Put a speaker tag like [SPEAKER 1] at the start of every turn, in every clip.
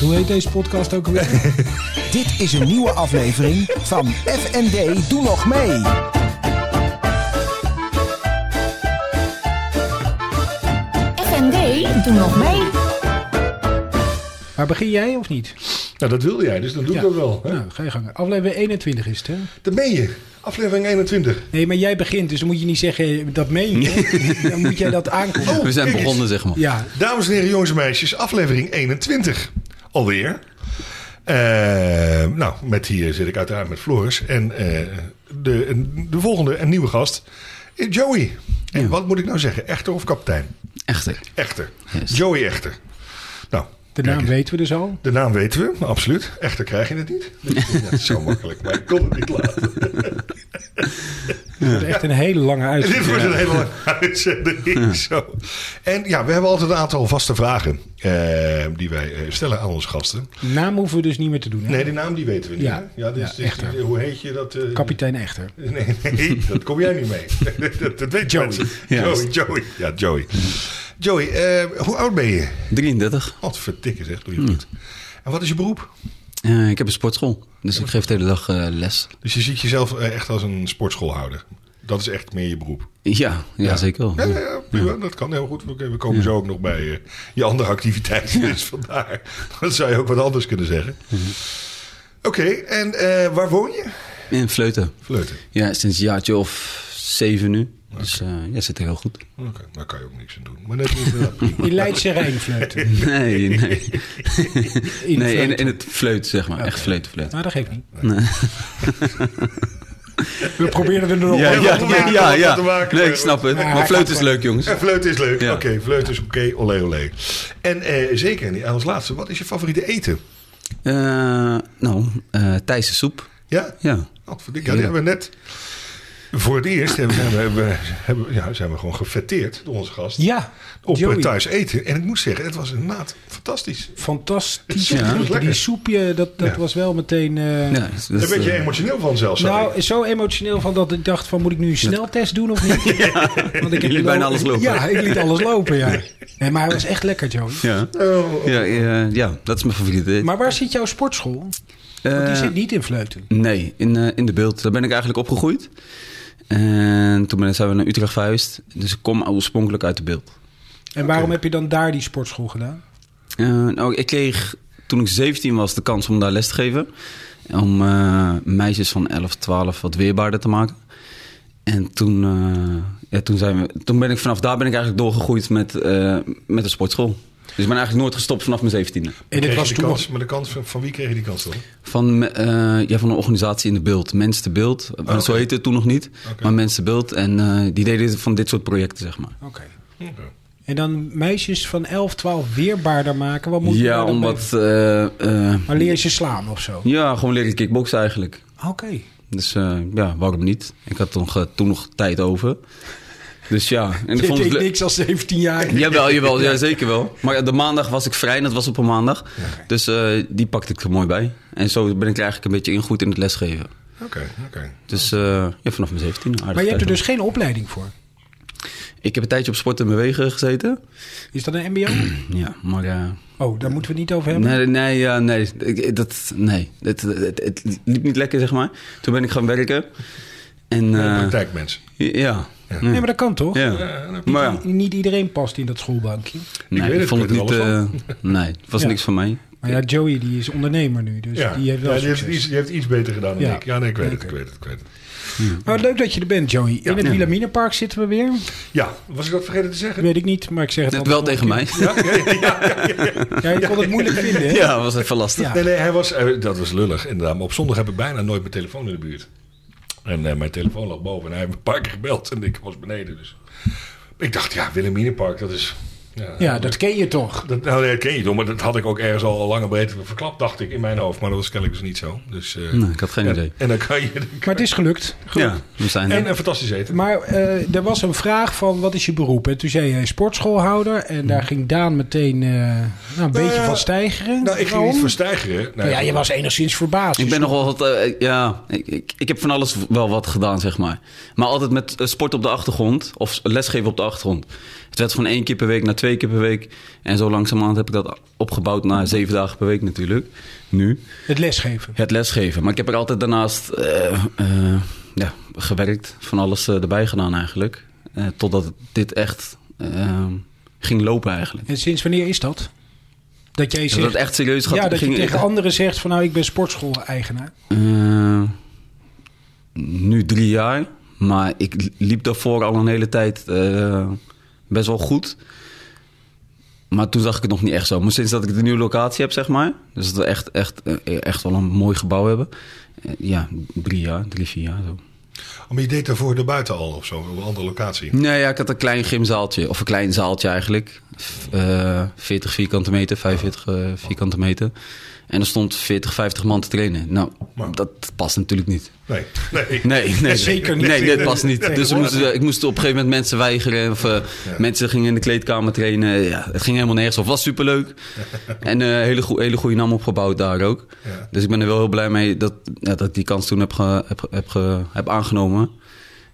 [SPEAKER 1] Hoe heet deze podcast ook weer?
[SPEAKER 2] Dit is een nieuwe aflevering van FND Doe Nog Mee.
[SPEAKER 3] FND, doe nog mee.
[SPEAKER 1] Maar begin jij of niet?
[SPEAKER 4] Nou, dat wilde jij, dus dan doe ik dat wel. Hè?
[SPEAKER 1] Nou, ga je gang. Aflevering 21 is het, hè?
[SPEAKER 4] Daar ben je. Aflevering 21.
[SPEAKER 1] Nee, maar jij begint, dus dan moet je niet zeggen dat meen je. dan moet jij dat aankomen.
[SPEAKER 5] We zijn
[SPEAKER 4] kijk eens.
[SPEAKER 5] begonnen, zeg maar.
[SPEAKER 1] Ja,
[SPEAKER 4] Dames en heren, jongens en meisjes, aflevering 21. Alweer. Eh, nou, met hier zit ik uiteraard met Floris. En eh, de, de volgende en nieuwe gast is Joey. En wat moet ik nou zeggen? Echter of kapitein?
[SPEAKER 5] Echter.
[SPEAKER 4] Echter.
[SPEAKER 5] Yes.
[SPEAKER 4] Joey Echter. Nou,
[SPEAKER 1] de
[SPEAKER 4] kijk
[SPEAKER 1] naam
[SPEAKER 4] eens.
[SPEAKER 1] weten we dus al.
[SPEAKER 4] De naam weten we, absoluut. Echter krijg je het niet. Dat is zo makkelijk, maar ik kon het niet laten.
[SPEAKER 1] Het wordt echt een hele lange
[SPEAKER 4] Dit wordt
[SPEAKER 1] uitzending.
[SPEAKER 4] een hele lange uitzending. Zo. En ja, we hebben altijd een aantal vaste vragen eh, die wij eh, stellen aan onze gasten.
[SPEAKER 1] Naam hoeven we dus niet meer te doen, hè?
[SPEAKER 4] Nee, de naam die weten we niet.
[SPEAKER 1] Ja.
[SPEAKER 4] hè? ja, dus,
[SPEAKER 1] Ja,
[SPEAKER 4] dus-
[SPEAKER 1] echt, hè?
[SPEAKER 4] hoe heet je dat? eh,
[SPEAKER 1] Kapitein Echter.
[SPEAKER 4] Nee, nee, dat kom jij niet mee. dat, dat weet Joey. Joey,
[SPEAKER 5] Juist.
[SPEAKER 4] Joey. Ja, Joey. Joey, eh, hoe oud ben je?
[SPEAKER 5] 33.
[SPEAKER 4] Wat verdikke zeg, doe je goed. En wat is je beroep?
[SPEAKER 5] Eh, ik heb een sportschool, dus ik geef de hele dag eh, les.
[SPEAKER 4] Dus je ziet jezelf eh, echt als een sportschoolhouder. Dat is echt meer je beroep.
[SPEAKER 5] Ja, ja, zeker wel.
[SPEAKER 4] Ja, ja, ja, prima. dat kan heel goed. We we komen zo ook nog bij eh, je andere activiteiten. Dus vandaar. Dat zou je ook wat anders kunnen zeggen. Oké, en eh, waar woon je?
[SPEAKER 5] En fleuten.
[SPEAKER 4] Vleuten.
[SPEAKER 5] Ja, sinds een jaartje of zeven nu. Dus eh, ja, zit er heel goed.
[SPEAKER 4] Oké, daar kan je ook niks aan doen. Maar net niet wel prima.
[SPEAKER 1] In Leidse Rijnfluiten.
[SPEAKER 5] Nee, nee.
[SPEAKER 1] In
[SPEAKER 5] nee in,
[SPEAKER 1] Vleuten.
[SPEAKER 5] in het fleut, zeg maar. Echt fleut, fleut.
[SPEAKER 1] Nou, dat geeft niet. we proberen er nog
[SPEAKER 5] Ja,
[SPEAKER 4] heel
[SPEAKER 5] ja,
[SPEAKER 4] wat te
[SPEAKER 5] ja,
[SPEAKER 4] maken,
[SPEAKER 5] ja,
[SPEAKER 4] heel wat
[SPEAKER 5] ja.
[SPEAKER 4] te maken.
[SPEAKER 5] Nee, ik snap het.
[SPEAKER 1] Ja,
[SPEAKER 5] Maar fleut is leuk, jongens.
[SPEAKER 4] En fleuten is leuk.
[SPEAKER 5] Ja.
[SPEAKER 4] Oké, fleuten is oké. Olé, olé. En eh, zeker, en als laatste, wat is je favoriete eten?
[SPEAKER 5] Eh, nou, eh Thijse soep.
[SPEAKER 4] Ja?
[SPEAKER 5] Ja.
[SPEAKER 4] Oh, verdikke, ja, die hebben we net... Voor het eerst hebben, zijn, we, hebben, we- hebben we- ja, zijn we gewoon gefetteerd door onze gast.
[SPEAKER 1] Ja,
[SPEAKER 4] op eh,
[SPEAKER 1] Joey.
[SPEAKER 4] thuis eten. En ik moet zeggen, het was inderdaad fantastisch.
[SPEAKER 1] Fantastisch.
[SPEAKER 4] Ja.
[SPEAKER 1] Die- Die
[SPEAKER 4] Lekker.
[SPEAKER 1] soepje, dat, dat
[SPEAKER 4] Ja.
[SPEAKER 1] was wel meteen... eh,
[SPEAKER 5] ja dus,
[SPEAKER 4] Daar
[SPEAKER 5] dat,
[SPEAKER 4] werd je
[SPEAKER 5] eh,
[SPEAKER 4] emotioneel van zelfs. zag ik.
[SPEAKER 1] Nou, zo emotioneel van dat ik dacht van moet ik nu een sneltest doen of niet? Want ik
[SPEAKER 5] Je
[SPEAKER 1] het
[SPEAKER 5] liet eh, bijna
[SPEAKER 1] al-
[SPEAKER 5] alles lopen.
[SPEAKER 1] Ja, ik liet alles lopen, ja. Nee, maar hij was echt lekker, Joey.
[SPEAKER 5] ja.
[SPEAKER 4] Oh,
[SPEAKER 5] Ja, ja, ja, dat is mijn favoriete.
[SPEAKER 1] Maar waar zit jouw sportschool? Want die
[SPEAKER 5] Eh,
[SPEAKER 1] zit niet in Vleuten.
[SPEAKER 5] Nee, in, eh, in de beeld. Daar ben ik eigenlijk opgegroeid. En toen ben, zijn we naar Utrecht verhuisd. Dus ik kom oorspronkelijk uit de beeld.
[SPEAKER 1] En waarom heb je dan daar die sportschool gedaan?
[SPEAKER 5] Eh, nou, ik kreeg toen ik 17 was de kans om daar les te geven. Om eh, meisjes van 11, 12 wat weerbaarder te maken. En toen, eh, ja, toen, zijn we, toen ben ik vanaf daar ben ik eigenlijk doorgegroeid met, eh, met de sportschool. Dus ik ben eigenlijk nooit gestopt vanaf mijn 17e.
[SPEAKER 1] En
[SPEAKER 4] Kreeg
[SPEAKER 1] het
[SPEAKER 4] je
[SPEAKER 1] was
[SPEAKER 4] die
[SPEAKER 1] toen
[SPEAKER 4] kans,
[SPEAKER 1] nog...
[SPEAKER 4] Maar de kans van, van wie kreeg je die kans dan?
[SPEAKER 5] Van, me- eh, ja, van een organisatie in de beeld. Mensen te beeld. Maar Zo
[SPEAKER 4] oké.
[SPEAKER 5] heette het toen nog niet.
[SPEAKER 4] Oké.
[SPEAKER 5] Maar mensen te beeld. En eh, die deden van dit soort projecten, zeg maar.
[SPEAKER 1] Oké. En dan meisjes van 11, 12 weerbaarder maken. Wat moet je
[SPEAKER 5] Ja,
[SPEAKER 1] daar dan mee?
[SPEAKER 5] omdat... eh, eh,
[SPEAKER 1] Maar leer je ze slaan of zo?
[SPEAKER 5] ja, gewoon leren kickboksen eigenlijk.
[SPEAKER 1] Oké.
[SPEAKER 5] Dus eh, ja, waarom niet? Ik had nog, eh, toen nog tijd over. Dus ja. En ik
[SPEAKER 1] Ik
[SPEAKER 5] vond het
[SPEAKER 1] deed
[SPEAKER 5] le-
[SPEAKER 1] niks als 17 jaar.
[SPEAKER 5] Jawel, jawel, ja, zeker wel. Maar ja, de maandag was ik vrij en dat was op een maandag. Dus eh, die pakte ik er mooi bij. En zo ben ik er eigenlijk een beetje in goed in het lesgeven.
[SPEAKER 4] Oké, oké.
[SPEAKER 5] Dus eh, ja, vanaf mijn 17. aardig
[SPEAKER 1] Maar je hebt er
[SPEAKER 5] thuis
[SPEAKER 1] dus geen opleiding voor.
[SPEAKER 5] wel. Ik heb een tijdje op sport en bewegen gezeten.
[SPEAKER 1] Is dat een mbo?
[SPEAKER 5] Ja, maar... eh,
[SPEAKER 1] Oh, daar moeten we het niet over hebben.
[SPEAKER 5] nee, nee, ja, nee. Ik- Dat, nee. Het, het, het liep niet lekker, zeg maar. Toen ben ik gaan werken. En eh,
[SPEAKER 4] Praktijkmens.
[SPEAKER 5] ja.
[SPEAKER 1] Nee, maar dat kan toch?
[SPEAKER 5] ja.
[SPEAKER 1] nou,
[SPEAKER 5] Maar ja.
[SPEAKER 1] Niet iedereen past in dat schoolbankje.
[SPEAKER 5] Nee,
[SPEAKER 4] weet
[SPEAKER 5] ik
[SPEAKER 4] het,
[SPEAKER 5] vond
[SPEAKER 4] ik
[SPEAKER 5] het
[SPEAKER 4] weet
[SPEAKER 5] niet.
[SPEAKER 4] er alles
[SPEAKER 5] eh, nee, het was
[SPEAKER 1] Ja.
[SPEAKER 5] niks van mij.
[SPEAKER 1] Maar ja, Joey die is ondernemer nu, dus
[SPEAKER 4] Ja,
[SPEAKER 1] die heeft wel
[SPEAKER 4] Ja, die, heeft
[SPEAKER 1] succes.
[SPEAKER 4] iets, die heeft iets beter gedaan dan
[SPEAKER 1] Ja.
[SPEAKER 4] ik. Ja, nee, ik weet het,
[SPEAKER 1] Oké.
[SPEAKER 4] ik weet het, ik weet het.
[SPEAKER 1] Maar leuk dat je er bent, Joey. In het Wilhelminapark zitten we weer.
[SPEAKER 4] Ja, was ik dat vergeten te zeggen?
[SPEAKER 1] Weet ik niet, maar ik zeg het
[SPEAKER 5] Net wel
[SPEAKER 1] altijd nog
[SPEAKER 5] tegen mij.
[SPEAKER 1] een keer. Ja, je kon het moeilijk vinden, hè?
[SPEAKER 5] Ja, was even lastig.
[SPEAKER 1] Ja.
[SPEAKER 4] Nee, nee, hij was, eh, dat was lullig inderdaad. Maar op zondag heb ik bijna nooit mijn telefoon in de buurt. En eh, mijn telefoon lag boven en hij heeft me een paar keer gebeld en ik was beneden. Dus ik dacht, ja, Willeminepark, dat is...
[SPEAKER 1] Ja, dat ken je toch.
[SPEAKER 4] Dat, nou, dat ken je toch, maar dat had ik ook ergens al lang en breed verklapt, dacht ik, in mijn hoofd. Maar dat was kennelijk dus niet zo. Dus, eh,
[SPEAKER 5] Nee, ik had geen
[SPEAKER 4] en,
[SPEAKER 5] idee.
[SPEAKER 4] En dan kan je...
[SPEAKER 1] Maar het is gelukt.
[SPEAKER 5] Ja, we zijn
[SPEAKER 4] en
[SPEAKER 5] er.
[SPEAKER 4] een fantastisch eten.
[SPEAKER 1] Maar eh, er was een vraag van wat is je beroep? En toen zei jij sportschoolhouder. En daar ging Daan meteen eh, nou, een beetje
[SPEAKER 4] ja,
[SPEAKER 1] van stijgeren.
[SPEAKER 4] nou, ik ging
[SPEAKER 1] Waarom?
[SPEAKER 4] niet verstijgeren. Nee,
[SPEAKER 1] Nou ja, je was enigszins verbaasd. dus
[SPEAKER 5] Ik ben nog wel wat. eh, ja, ik, ik, ik heb van alles wel wat gedaan, zeg maar. Maar altijd met eh, sport op de achtergrond. Of lesgeven op de achtergrond. Het werd van één keer per week naar twee twee keer per week. En zo langzamerhand heb ik dat opgebouwd naar zeven dagen per week natuurlijk. Nu.
[SPEAKER 1] Het lesgeven.
[SPEAKER 5] Het lesgeven. Maar ik heb er altijd daarnaast eh, eh, ja, gewerkt. Van alles eh, erbij gedaan eigenlijk. Eh, totdat dit echt eh, ging lopen eigenlijk.
[SPEAKER 1] En sinds wanneer is dat? Dat jij
[SPEAKER 5] Dat
[SPEAKER 1] zegt,
[SPEAKER 5] het echt serieus gaat.
[SPEAKER 1] ja, dat je
[SPEAKER 5] ging,
[SPEAKER 1] tegen anderen zegt van nou, ik ben sportschool-eigenaar.
[SPEAKER 5] Eh, nu drie jaar. Maar ik liep daarvoor al een hele tijd eh, best wel goed. Maar toen zag ik het nog niet echt zo. Maar sinds dat ik de nieuwe locatie heb, zeg maar. Dus dat we echt, echt, eh, echt wel een mooi gebouw hebben. eh, ja, drie jaar, drie, vier jaar zo.
[SPEAKER 4] Maar je deed daarvoor daarbuiten al of zo, op een andere locatie.
[SPEAKER 5] Nee, ja, ik had een klein gymzaaltje. Of een klein zaaltje eigenlijk. F- eh, 40 vierkante meter, 45 eh, vierkante meter. En er stond 40, 50 man te trainen. Nou,
[SPEAKER 4] Maar-
[SPEAKER 5] dat past natuurlijk niet.
[SPEAKER 4] Nee, nee.
[SPEAKER 5] Nee, nee,
[SPEAKER 1] zeker
[SPEAKER 5] nee,
[SPEAKER 1] niet.
[SPEAKER 5] Nee, dat past niet.
[SPEAKER 1] Nee,
[SPEAKER 5] dus we
[SPEAKER 1] dat-
[SPEAKER 5] moesten, ik moest op een gegeven moment mensen weigeren. Of, eh, Mensen gingen in de kleedkamer trainen. Ja, het ging helemaal nergens. Of was superleuk. en eh hele, goe- hele goede naam opgebouwd daar ook.
[SPEAKER 4] Ja.
[SPEAKER 5] Dus ik ben er wel heel blij mee dat, ja, dat ik die kans toen heb, ge- heb, ge- heb, ge- heb aangenomen.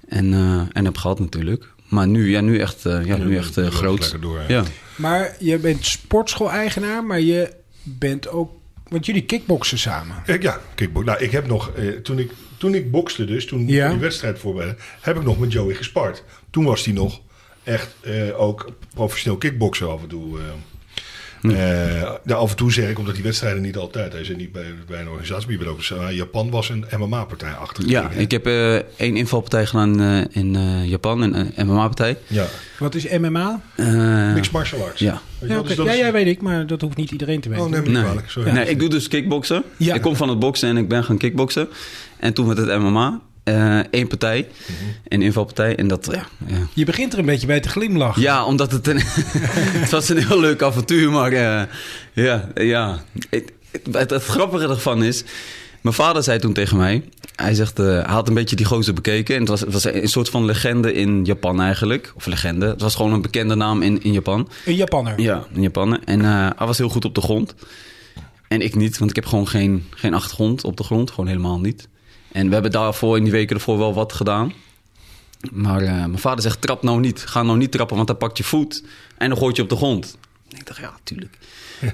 [SPEAKER 5] En, eh, en heb gehad natuurlijk. Maar nu, ja, nu echt, eh, ja,
[SPEAKER 4] Nu-
[SPEAKER 5] nu echt eh,
[SPEAKER 4] nu loopt het
[SPEAKER 5] groot.
[SPEAKER 4] lekker door, hè?
[SPEAKER 5] Ja.
[SPEAKER 1] Maar je bent sportschool-eigenaar, maar je bent ook... Want jullie kickboksen samen.
[SPEAKER 4] Ik- ja, kickbox. Nou, ik heb nog, eh, toen, ik, toen ik bokste dus, toen
[SPEAKER 1] Ja.
[SPEAKER 4] die wedstrijd voorbij, heb ik nog met Joey gespart. Toen was hij nog echt eh, ook professioneel kickboksen af en toe. eh.
[SPEAKER 5] Hm.
[SPEAKER 4] Eh, nou, af en toe zeg ik, omdat die wedstrijden niet altijd, hij zit niet bij, bij een organisatie, maar je bent ook, zo- eh, Japan was een MMA-partij achter.
[SPEAKER 5] ja, ik heb eh, één invalpartij gedaan eh, in eh, Japan, een eh, MMA-partij.
[SPEAKER 4] ja.
[SPEAKER 1] Wat is MMA?
[SPEAKER 5] Eh,
[SPEAKER 4] Mixed martial arts.
[SPEAKER 5] ja.
[SPEAKER 4] Weet je
[SPEAKER 1] Ja,
[SPEAKER 4] wel,
[SPEAKER 1] oké.
[SPEAKER 4] dus dat
[SPEAKER 1] ja,
[SPEAKER 4] is-
[SPEAKER 1] ja, weet ik, maar dat hoeft niet iedereen te weten.
[SPEAKER 4] Oh, neem me niet
[SPEAKER 5] Nee.
[SPEAKER 4] kwalijk, sorry.
[SPEAKER 5] nee, ik doe dus kickboksen.
[SPEAKER 1] Ja.
[SPEAKER 5] Ik kom van het boksen en ik ben gaan kickboksen. En toen met het MMA. eh één partij,
[SPEAKER 4] Mhm.
[SPEAKER 5] een invalpartij. En dat, ja, ja.
[SPEAKER 1] Je begint er een beetje bij te glimlachen.
[SPEAKER 5] ja omdat het een... het was een heel leuk avontuur, maar eh, ja, ja. Het, het, het grappige ervan is... Mijn vader zei toen tegen mij, hij zegt, eh, hij had een beetje die gozer bekeken. En het was, het was een soort van legende in Japan eigenlijk. Of legende, het was gewoon een bekende naam in, in Japan.
[SPEAKER 1] Een Japanner.
[SPEAKER 5] Ja, in Japan. En eh, hij was heel goed op de grond. En ik niet, want ik heb gewoon geen, geen achtergrond op de grond. Gewoon helemaal niet. En we hebben daarvoor in die weken ervoor wel wat gedaan. Maar eh, mijn vader zegt, trap nou niet. Ga nou niet trappen, want dan pakt je voet. En dan gooit je op de grond. En ik dacht, ja, tuurlijk.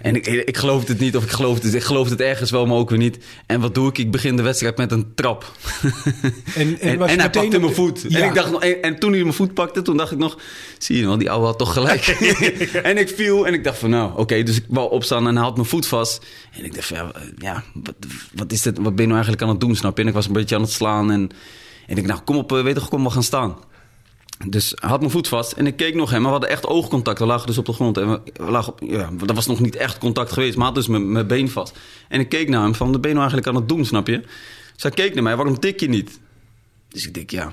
[SPEAKER 5] En ik, ik geloofde het niet, of ik geloofde het, ik geloofde het ergens wel, maar ook weer niet. En wat doe ik? Ik begin de wedstrijd met een trap.
[SPEAKER 1] En, en,
[SPEAKER 5] En,
[SPEAKER 1] was
[SPEAKER 5] en hij
[SPEAKER 1] meteen
[SPEAKER 5] pakte
[SPEAKER 1] op
[SPEAKER 5] mijn
[SPEAKER 1] de-
[SPEAKER 5] voet.
[SPEAKER 1] Ja.
[SPEAKER 5] En, ik dacht, nog- en, en toen hij mijn voet pakte, toen dacht ik nog... Zie je wel, die ouwe had toch gelijk. en ik viel en ik dacht van nou, oké. dus ik wou opstaan en hij had mijn voet vast. En ik dacht van ja, ja, wat, wat is dit? Wat ben je nou eigenlijk aan het doen, snap je? En ik was een beetje aan het slaan. En, en ik dacht, nou, kom op, eh, weet je toch, kom, we gaan staan. Dus hij had mijn voet vast en ik keek nog hem. Maar we hadden echt oogcontact. We lagen dus op de grond. En we, we lagen op, ja, dat was nog niet echt contact geweest. Maar hij had dus mijn, mijn been vast. En ik keek naar hem van, de ben je nou eigenlijk aan het doen, snap je? Dus hij keek naar mij, waarom tik je niet? Dus ik denk, ja,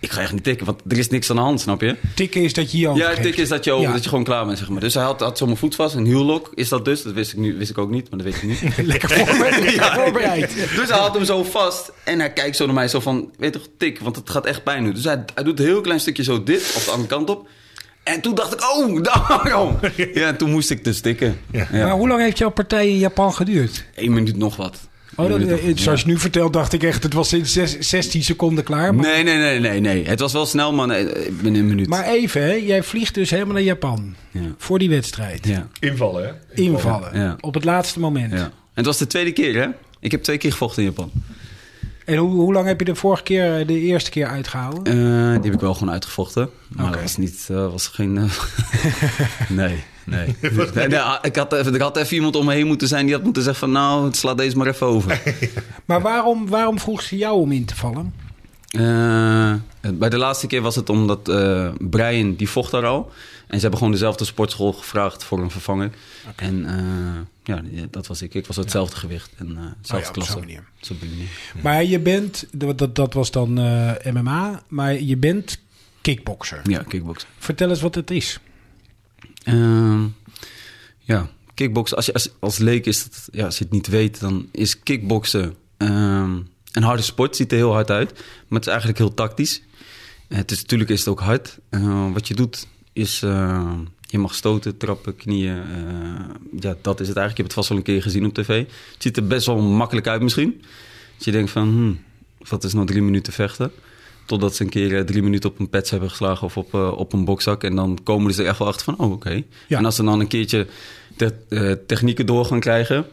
[SPEAKER 5] ik ga echt niet tikken, want er is niks aan de hand, snap je?
[SPEAKER 1] Tikken is dat je je hand
[SPEAKER 5] Ja,
[SPEAKER 1] geeft.
[SPEAKER 5] tikken is dat je, over,
[SPEAKER 1] Ja.
[SPEAKER 5] dat je gewoon klaar bent, zeg maar. Dus hij had, had zo mijn voet vast, een hiellok is dat dus. Dat wist ik, nu, wist ik ook niet, maar dat weet je niet.
[SPEAKER 1] Lekker voorbereid. lekker voorbereid.
[SPEAKER 5] Dus hij had hem zo vast en hij kijkt zo naar mij zo van, weet toch, tik, want het gaat echt pijn doen. Dus hij, hij doet een heel klein stukje zo dit, op de andere kant op. En toen dacht ik, oh, daarom. Ja, en toen moest ik dus tikken. Ja.
[SPEAKER 1] Maar hoe lang heeft jouw partij in Japan geduurd?
[SPEAKER 5] Eén minuut nog wat.
[SPEAKER 1] Oh,
[SPEAKER 5] Eén
[SPEAKER 1] dat,
[SPEAKER 5] minuut nog
[SPEAKER 1] eh,
[SPEAKER 5] wat, ja.
[SPEAKER 1] zoals je nu vertelt, dacht ik echt, het was in zes- 16 seconden klaar. Maar,
[SPEAKER 5] Nee, nee, nee, nee, nee. Het was wel snel, maar nee, eh, binnen een minuut.
[SPEAKER 1] maar even, hè, jij vliegt dus helemaal naar Japan
[SPEAKER 5] Ja.
[SPEAKER 1] voor die wedstrijd.
[SPEAKER 5] Ja.
[SPEAKER 4] Invallen, hè?
[SPEAKER 1] Invallen
[SPEAKER 5] Ja.
[SPEAKER 1] op het laatste moment.
[SPEAKER 5] Ja. En het was de tweede keer, hè? Ik heb twee keer gevochten in Japan.
[SPEAKER 1] En hoe, hoe lang heb je de vorige keer, eh, de eerste keer uitgehouden?
[SPEAKER 5] Eh, die heb ik wel gewoon uitgevochten. Maar
[SPEAKER 1] Oké.
[SPEAKER 5] dat was niet... eh, was geen... eh, nee, nee. nee, nee, ah, ik, had even, er had even iemand om me heen moeten zijn... die had moeten zeggen van... nou, sla deze maar even over.
[SPEAKER 1] Maar waarom, waarom vroeg ze jou om in te vallen?
[SPEAKER 5] Eh, bij de laatste keer was het omdat eh, Brian, die vocht daar al. En ze hebben gewoon dezelfde sportschool gevraagd voor een vervanger. En eh, ja, dat was ik. Ik was hetzelfde gewicht en eh,
[SPEAKER 1] op
[SPEAKER 5] zelfde
[SPEAKER 1] zo'n
[SPEAKER 5] klasse.
[SPEAKER 1] manier.
[SPEAKER 5] Zo'n manier.
[SPEAKER 1] Maar je bent, dat, dat- dat was dan eh, MMA, maar je bent kickbokser.
[SPEAKER 5] Ja, kickboksen.
[SPEAKER 1] Vertel eens wat het is.
[SPEAKER 5] Ehm, ja, kickboksen. Als je als, als leek is dat, ja, als je het niet weet, dan is kickboksen ehm, een harde sport. Ziet er heel hard uit, maar het is eigenlijk heel tactisch. Eh, Het is, natuurlijk is het ook hard. Eh, wat je doet is, eh, je mag stoten, trappen, knieën. eh, ja, dat is het eigenlijk. Je hebt het vast wel een keer gezien op tv. Het ziet er best wel makkelijk uit misschien. Dat je denkt van, hmm, wat is nou drie minuten vechten? Totdat ze een keer eh, drie minuten op een pets hebben geslagen of op, eh, op een bokzak. En dan komen ze er echt wel achter van, oh, oké.
[SPEAKER 1] Ja.
[SPEAKER 5] En als ze dan een keertje te- eh, technieken door gaan krijgen...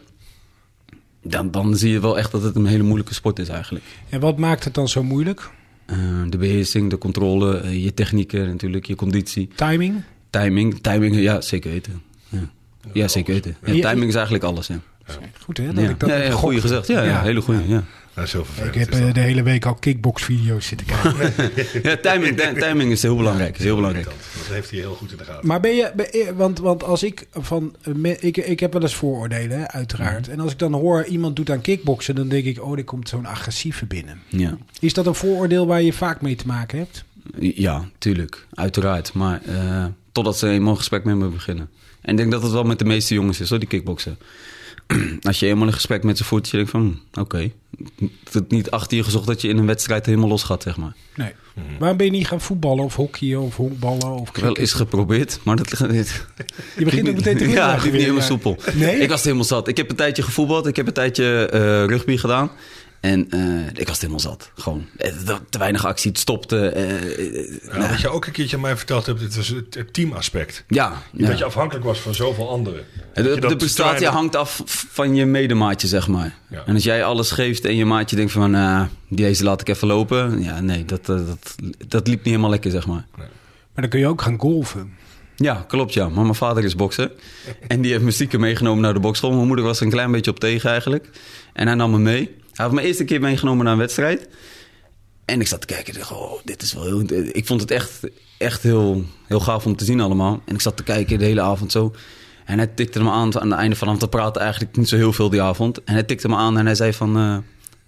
[SPEAKER 5] Dan, dan zie je wel echt dat het een hele moeilijke sport is eigenlijk.
[SPEAKER 1] En wat maakt het dan zo moeilijk?
[SPEAKER 5] Eh, de beheersing, de controle, eh, je technieken natuurlijk, je conditie.
[SPEAKER 1] Timing?
[SPEAKER 5] Timing, timing, ja, zeker weten. Ja, ja zeker weten. Ja,
[SPEAKER 1] Ja.
[SPEAKER 5] timing is eigenlijk alles, ja.
[SPEAKER 1] Goed hè? Dat
[SPEAKER 5] Ja,
[SPEAKER 1] ik dat
[SPEAKER 5] ja, ja,
[SPEAKER 1] heb
[SPEAKER 5] goeie
[SPEAKER 1] gegokt.
[SPEAKER 5] gezegd. Ja, ja,
[SPEAKER 1] Ja.
[SPEAKER 5] hele goeie, ja.
[SPEAKER 4] Dat is heel vervelend.
[SPEAKER 1] Ik heb
[SPEAKER 4] is dat.
[SPEAKER 1] eh, de hele week al kickbox-video's zitten kijken.
[SPEAKER 5] Ja, timing, ti- timing is heel belangrijk. Is heel belangrijk.
[SPEAKER 4] Dat heeft hij heel goed in de gaten.
[SPEAKER 1] Maar ben je, ben je- want, want als ik van, eh, me- ik, ik heb wel eens vooroordelen, hè, uiteraard. En als ik dan hoor iemand doet aan kickboksen, dan denk ik, oh, er komt zo'n agressieve binnen.
[SPEAKER 5] Ja.
[SPEAKER 1] Is dat een vooroordeel waar je vaak mee te maken hebt?
[SPEAKER 5] ja, tuurlijk. Uiteraard. Maar eh, totdat ze eenmaal een gesprek met me beginnen. En ik denk dat het wel met de meeste jongens is, hoor, die kickboksen. Als je eenmaal een gesprek met ze voert, je denkt van... hm, Oké, het is niet achter je gezocht dat je in een wedstrijd helemaal los gaat, zeg maar.
[SPEAKER 1] Nee. Waarom ben je niet gaan voetballen of hockeyen of honkballen of
[SPEAKER 5] Mhm. Wel
[SPEAKER 1] cricket?
[SPEAKER 5] is geprobeerd, maar dat ligt niet...
[SPEAKER 1] Je begint ook meteen te
[SPEAKER 5] Ja, het
[SPEAKER 1] glimlachen
[SPEAKER 5] liep niet
[SPEAKER 1] weer,
[SPEAKER 5] helemaal
[SPEAKER 1] ja.
[SPEAKER 5] soepel.
[SPEAKER 1] Nee?
[SPEAKER 5] Ik was het helemaal zat. Ik heb een tijdje gevoetbald. Ik heb een tijdje eh, rugby gedaan. En eh, ik was het helemaal zat. Gewoon eh, te weinig actie. Het stopte. eh, eh,
[SPEAKER 4] Ja, Nou, Wat je ook een keertje aan mij verteld hebt, het was het het teamaspect.
[SPEAKER 5] ja. ja.
[SPEAKER 4] Dat je afhankelijk was van zoveel anderen. Dat je
[SPEAKER 5] De,
[SPEAKER 4] dat
[SPEAKER 5] de prestatie
[SPEAKER 4] strijden-
[SPEAKER 5] hangt af van je medemaatje, zeg maar.
[SPEAKER 4] Ja.
[SPEAKER 5] En als jij alles geeft en je maatje denkt van... "Ah, deze laat ik even lopen. Ja, nee, dat, eh, dat, dat liep niet helemaal lekker, zeg maar.
[SPEAKER 1] Maar dan kun je ook gaan golven.
[SPEAKER 5] Ja, klopt ja. Maar mijn vader is bokser. En die heeft me stiekem meegenomen naar de bokschool. Mijn moeder was er een klein beetje op tegen eigenlijk. En hij nam me mee. Hij heeft me eerst een keer meegenomen naar een wedstrijd. En ik zat te kijken. Ik dacht, oh, dit is wel heel... Ik vond het echt, echt heel, heel gaaf om te zien allemaal. En ik zat te kijken de hele avond zo. En hij tikte me aan aan het einde van de avond. Hij praatte eigenlijk niet zo heel veel die avond. En hij tikte me aan en hij zei van... eh,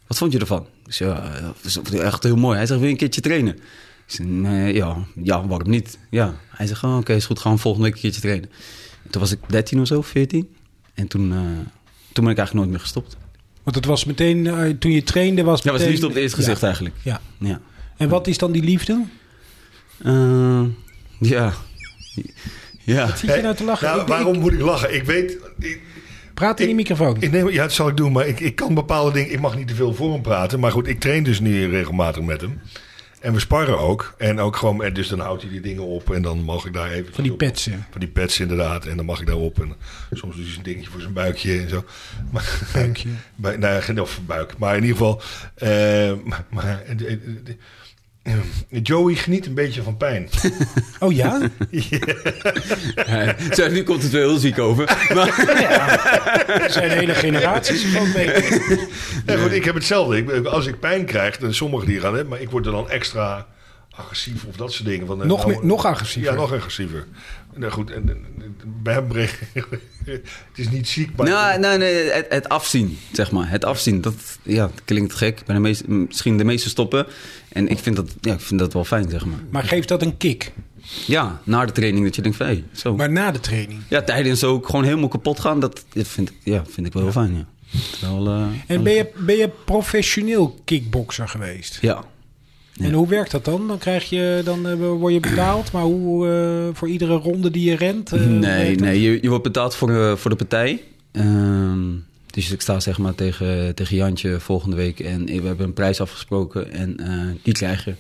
[SPEAKER 5] wat vond je ervan? Ik zei, ja, eh, vond ik echt heel mooi. Hij zegt, wil je een keertje trainen? Ik zei, nee, ja, ja, waarom niet? Ja. Hij zegt, oh, oké, is goed, gaan we volgende week een keertje trainen. En toen was ik 13 of zo, 14. En toen, eh, toen ben ik eigenlijk nooit meer gestopt.
[SPEAKER 1] Want het was meteen, eh, toen je trainde was
[SPEAKER 5] Ja, was
[SPEAKER 1] meteen-
[SPEAKER 5] liefde op het eerste gezicht
[SPEAKER 1] Ja.
[SPEAKER 5] eigenlijk.
[SPEAKER 1] Ja.
[SPEAKER 5] Ja.
[SPEAKER 1] En wat is dan die liefde?
[SPEAKER 5] Eh, ja. Ja.
[SPEAKER 1] Zit je nou te lachen?
[SPEAKER 4] Nou,
[SPEAKER 1] Ik- ik-
[SPEAKER 4] waarom moet ik lachen? Ik weet... Ik,
[SPEAKER 1] Praat in die
[SPEAKER 4] ik-
[SPEAKER 1] microfoon.
[SPEAKER 4] ik neem, ja, dat zal ik doen, maar ik, ik kan bepaalde dingen... Ik mag niet te veel voor hem praten. Maar goed, ik train dus nu regelmatig met hem. En we sparren ook. En ook gewoon... En dus dan houdt hij die dingen op. En dan mag ik daar even...
[SPEAKER 1] van die petsen.
[SPEAKER 4] Van die pets inderdaad. En dan mag ik daarop. En soms doet hij een dingetje voor zijn buikje en zo. Maar,
[SPEAKER 1] Buikje.
[SPEAKER 4] Bij, nou, ja, geen of buik. Maar in ieder geval. eh, maar, maar, eh, eh, eh, eh, Joey geniet een beetje van pijn.
[SPEAKER 1] Oh ja?
[SPEAKER 5] Ja. Zo, nu komt het wel heel ziek over. Maar,
[SPEAKER 1] Er zijn hele generaties van mee.
[SPEAKER 4] Ja, goed, ik heb hetzelfde. Ik, ben- als ik pijn krijg, dan sommigen die gaan hebben, maar ik word er dan extra agressief of dat soort dingen. Van, eh,
[SPEAKER 1] Nog meer- nog agressiever.
[SPEAKER 4] Ja, nog agressiever. Nou goed, en, en- en- bij hem brengt- het is niet ziek, maar
[SPEAKER 5] nou, nee, nee, het, het afzien, zeg maar. Het afzien, dat ja, het klinkt gek. Bij de meeste, misschien de meeste stoppen. En ik vind, dat, ja, ik vind dat wel fijn, zeg maar.
[SPEAKER 1] Maar geeft dat een kick?
[SPEAKER 5] Ja, na de training dat je denkt van, hé, zo.
[SPEAKER 1] Maar na de training.
[SPEAKER 5] ja, tijdens ook gewoon helemaal kapot gaan, dat vind ik, ja, vind ik wel heel fijn, ja. Wel, eh,
[SPEAKER 1] En ben je, ben je professioneel kickbokser geweest?
[SPEAKER 5] Ja.
[SPEAKER 1] En hoe werkt dat dan? Dan, krijg je, dan eh, word je betaald, maar hoe eh, voor iedere ronde die je rent? eh,
[SPEAKER 5] nee,
[SPEAKER 1] werkt dat?
[SPEAKER 5] nee, je, je wordt betaald voor, eh, voor de partij. Ehm, dus ik sta zeg maar tegen, tegen Jantje volgende week en we hebben een prijs afgesproken en eh, die krijg je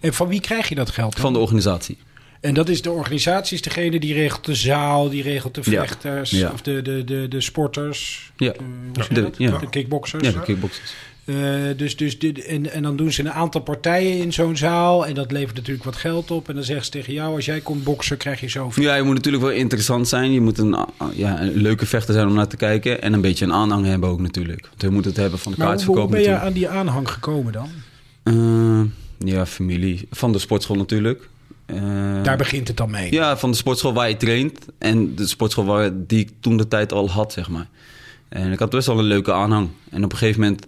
[SPEAKER 1] En van wie krijg je dat geld? dan?
[SPEAKER 5] van de organisatie.
[SPEAKER 1] En dat is de organisatie, is degene die regelt de zaal, die regelt de
[SPEAKER 5] Ja.
[SPEAKER 1] vechters,
[SPEAKER 5] Ja.
[SPEAKER 1] of de, de, de, de sporters.
[SPEAKER 5] Ja.
[SPEAKER 1] Eh, hoe zeg
[SPEAKER 5] De-
[SPEAKER 1] je dat?
[SPEAKER 5] ja.
[SPEAKER 1] de kickboxers.
[SPEAKER 5] Ja, de kickboxers.
[SPEAKER 1] Eh, dus, dus dit, en, en dan doen ze een aantal partijen in zo'n zaal. En dat levert natuurlijk wat geld op. En dan zeggen ze tegen jou: als jij komt boksen, krijg je zoveel.
[SPEAKER 5] Ja, je moet natuurlijk wel interessant zijn. Je moet een, ah, ja, een leuke vechter zijn om naar te kijken. En een beetje een aanhang hebben ook natuurlijk. Want je moet het hebben van de
[SPEAKER 1] maar hoe, hoe
[SPEAKER 5] kaartverkoop
[SPEAKER 1] ben je
[SPEAKER 5] natuurlijk.
[SPEAKER 1] aan die aanhang gekomen dan?
[SPEAKER 5] Eh, ja, familie. Van de sportschool natuurlijk. Eh,
[SPEAKER 1] Daar begint het dan mee.
[SPEAKER 5] Ja, van de sportschool waar je traint. En de sportschool waar, die ik toen de tijd al had, zeg maar. En ik had best wel een leuke aanhang. En op een gegeven moment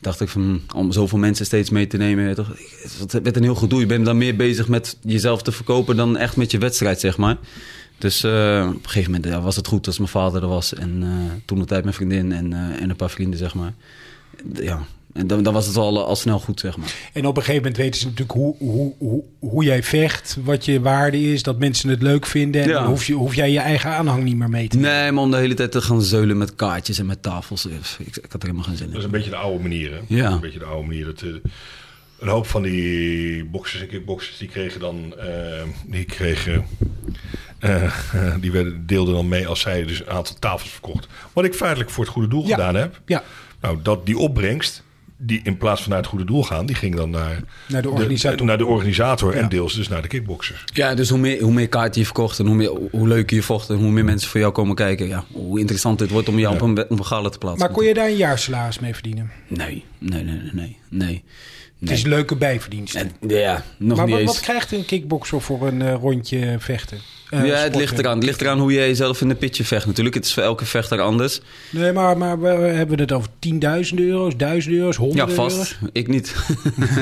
[SPEAKER 5] dacht ik van... hm, om zoveel mensen steeds mee te nemen... weet je toch, ik- Het werd een heel gedoe. Je bent dan meer bezig met jezelf te verkopen... dan echt met je wedstrijd, zeg maar. Dus eh, op een gegeven moment ja, was het goed als mijn vader er was. En eh, toen de tijd mijn vriendin en, eh, en een paar vrienden, zeg maar. Ja, en dan, dan was het al, al snel goed, zeg maar.
[SPEAKER 1] En op een gegeven moment weten ze natuurlijk hoe, hoe, hoe, hoe jij vecht, wat je waarde is, dat mensen het leuk vinden. En
[SPEAKER 5] Ja.
[SPEAKER 1] dan hoef, je, hoef jij je eigen aanhang niet meer mee te nemen.
[SPEAKER 5] Nee, maar om de hele tijd te gaan zeulen met kaartjes en met tafels. Ik, ik had er helemaal geen zin in.
[SPEAKER 4] dat is een beetje de oude manier. Hè?
[SPEAKER 5] Ja.
[SPEAKER 4] Een beetje de oude manier. Dat, eh, een hoop van die boxers en kickboxers, die kregen dan, eh, die kregen, eh, die werden, deelden dan mee als zij dus een aantal tafels verkocht. Wat ik feitelijk voor het goede doel
[SPEAKER 1] Ja.
[SPEAKER 4] gedaan heb.
[SPEAKER 1] Ja,
[SPEAKER 4] Nou, dat die opbrengst, die in plaats van naar het goede doel gaan, die ging dan naar
[SPEAKER 1] naar de organisator.
[SPEAKER 4] naar de organisator
[SPEAKER 1] Ja.
[SPEAKER 4] en deels dus naar de kickboxers.
[SPEAKER 5] Ja, dus hoe meer, hoe meer kaarten je verkocht en hoe, meer, hoe leuker je vocht en hoe meer mensen voor jou komen kijken. Ja, hoe interessant het wordt om je op, een, we- op een gala te plaatsen.
[SPEAKER 1] maar kon je daar een jaarsalaris mee verdienen?
[SPEAKER 5] Nee, nee, nee, nee, nee. nee.
[SPEAKER 1] Het is leuke bijverdiensten.
[SPEAKER 5] En- ja, nog
[SPEAKER 1] maar
[SPEAKER 5] niet
[SPEAKER 1] wat,
[SPEAKER 5] eens.
[SPEAKER 1] wat krijgt een kickboxer voor een eh, rondje vechten? Eh,
[SPEAKER 5] ja, het
[SPEAKER 1] sporten?
[SPEAKER 5] ligt, eraan, het ligt eraan hoe jij jezelf in de pitje vecht natuurlijk. Het is voor elke vechter anders.
[SPEAKER 1] Nee, maar, maar we hebben het over tienduizenden euro's, duizenden euro's,
[SPEAKER 5] Ja,
[SPEAKER 1] honderden euro's.
[SPEAKER 5] vast. Ik niet.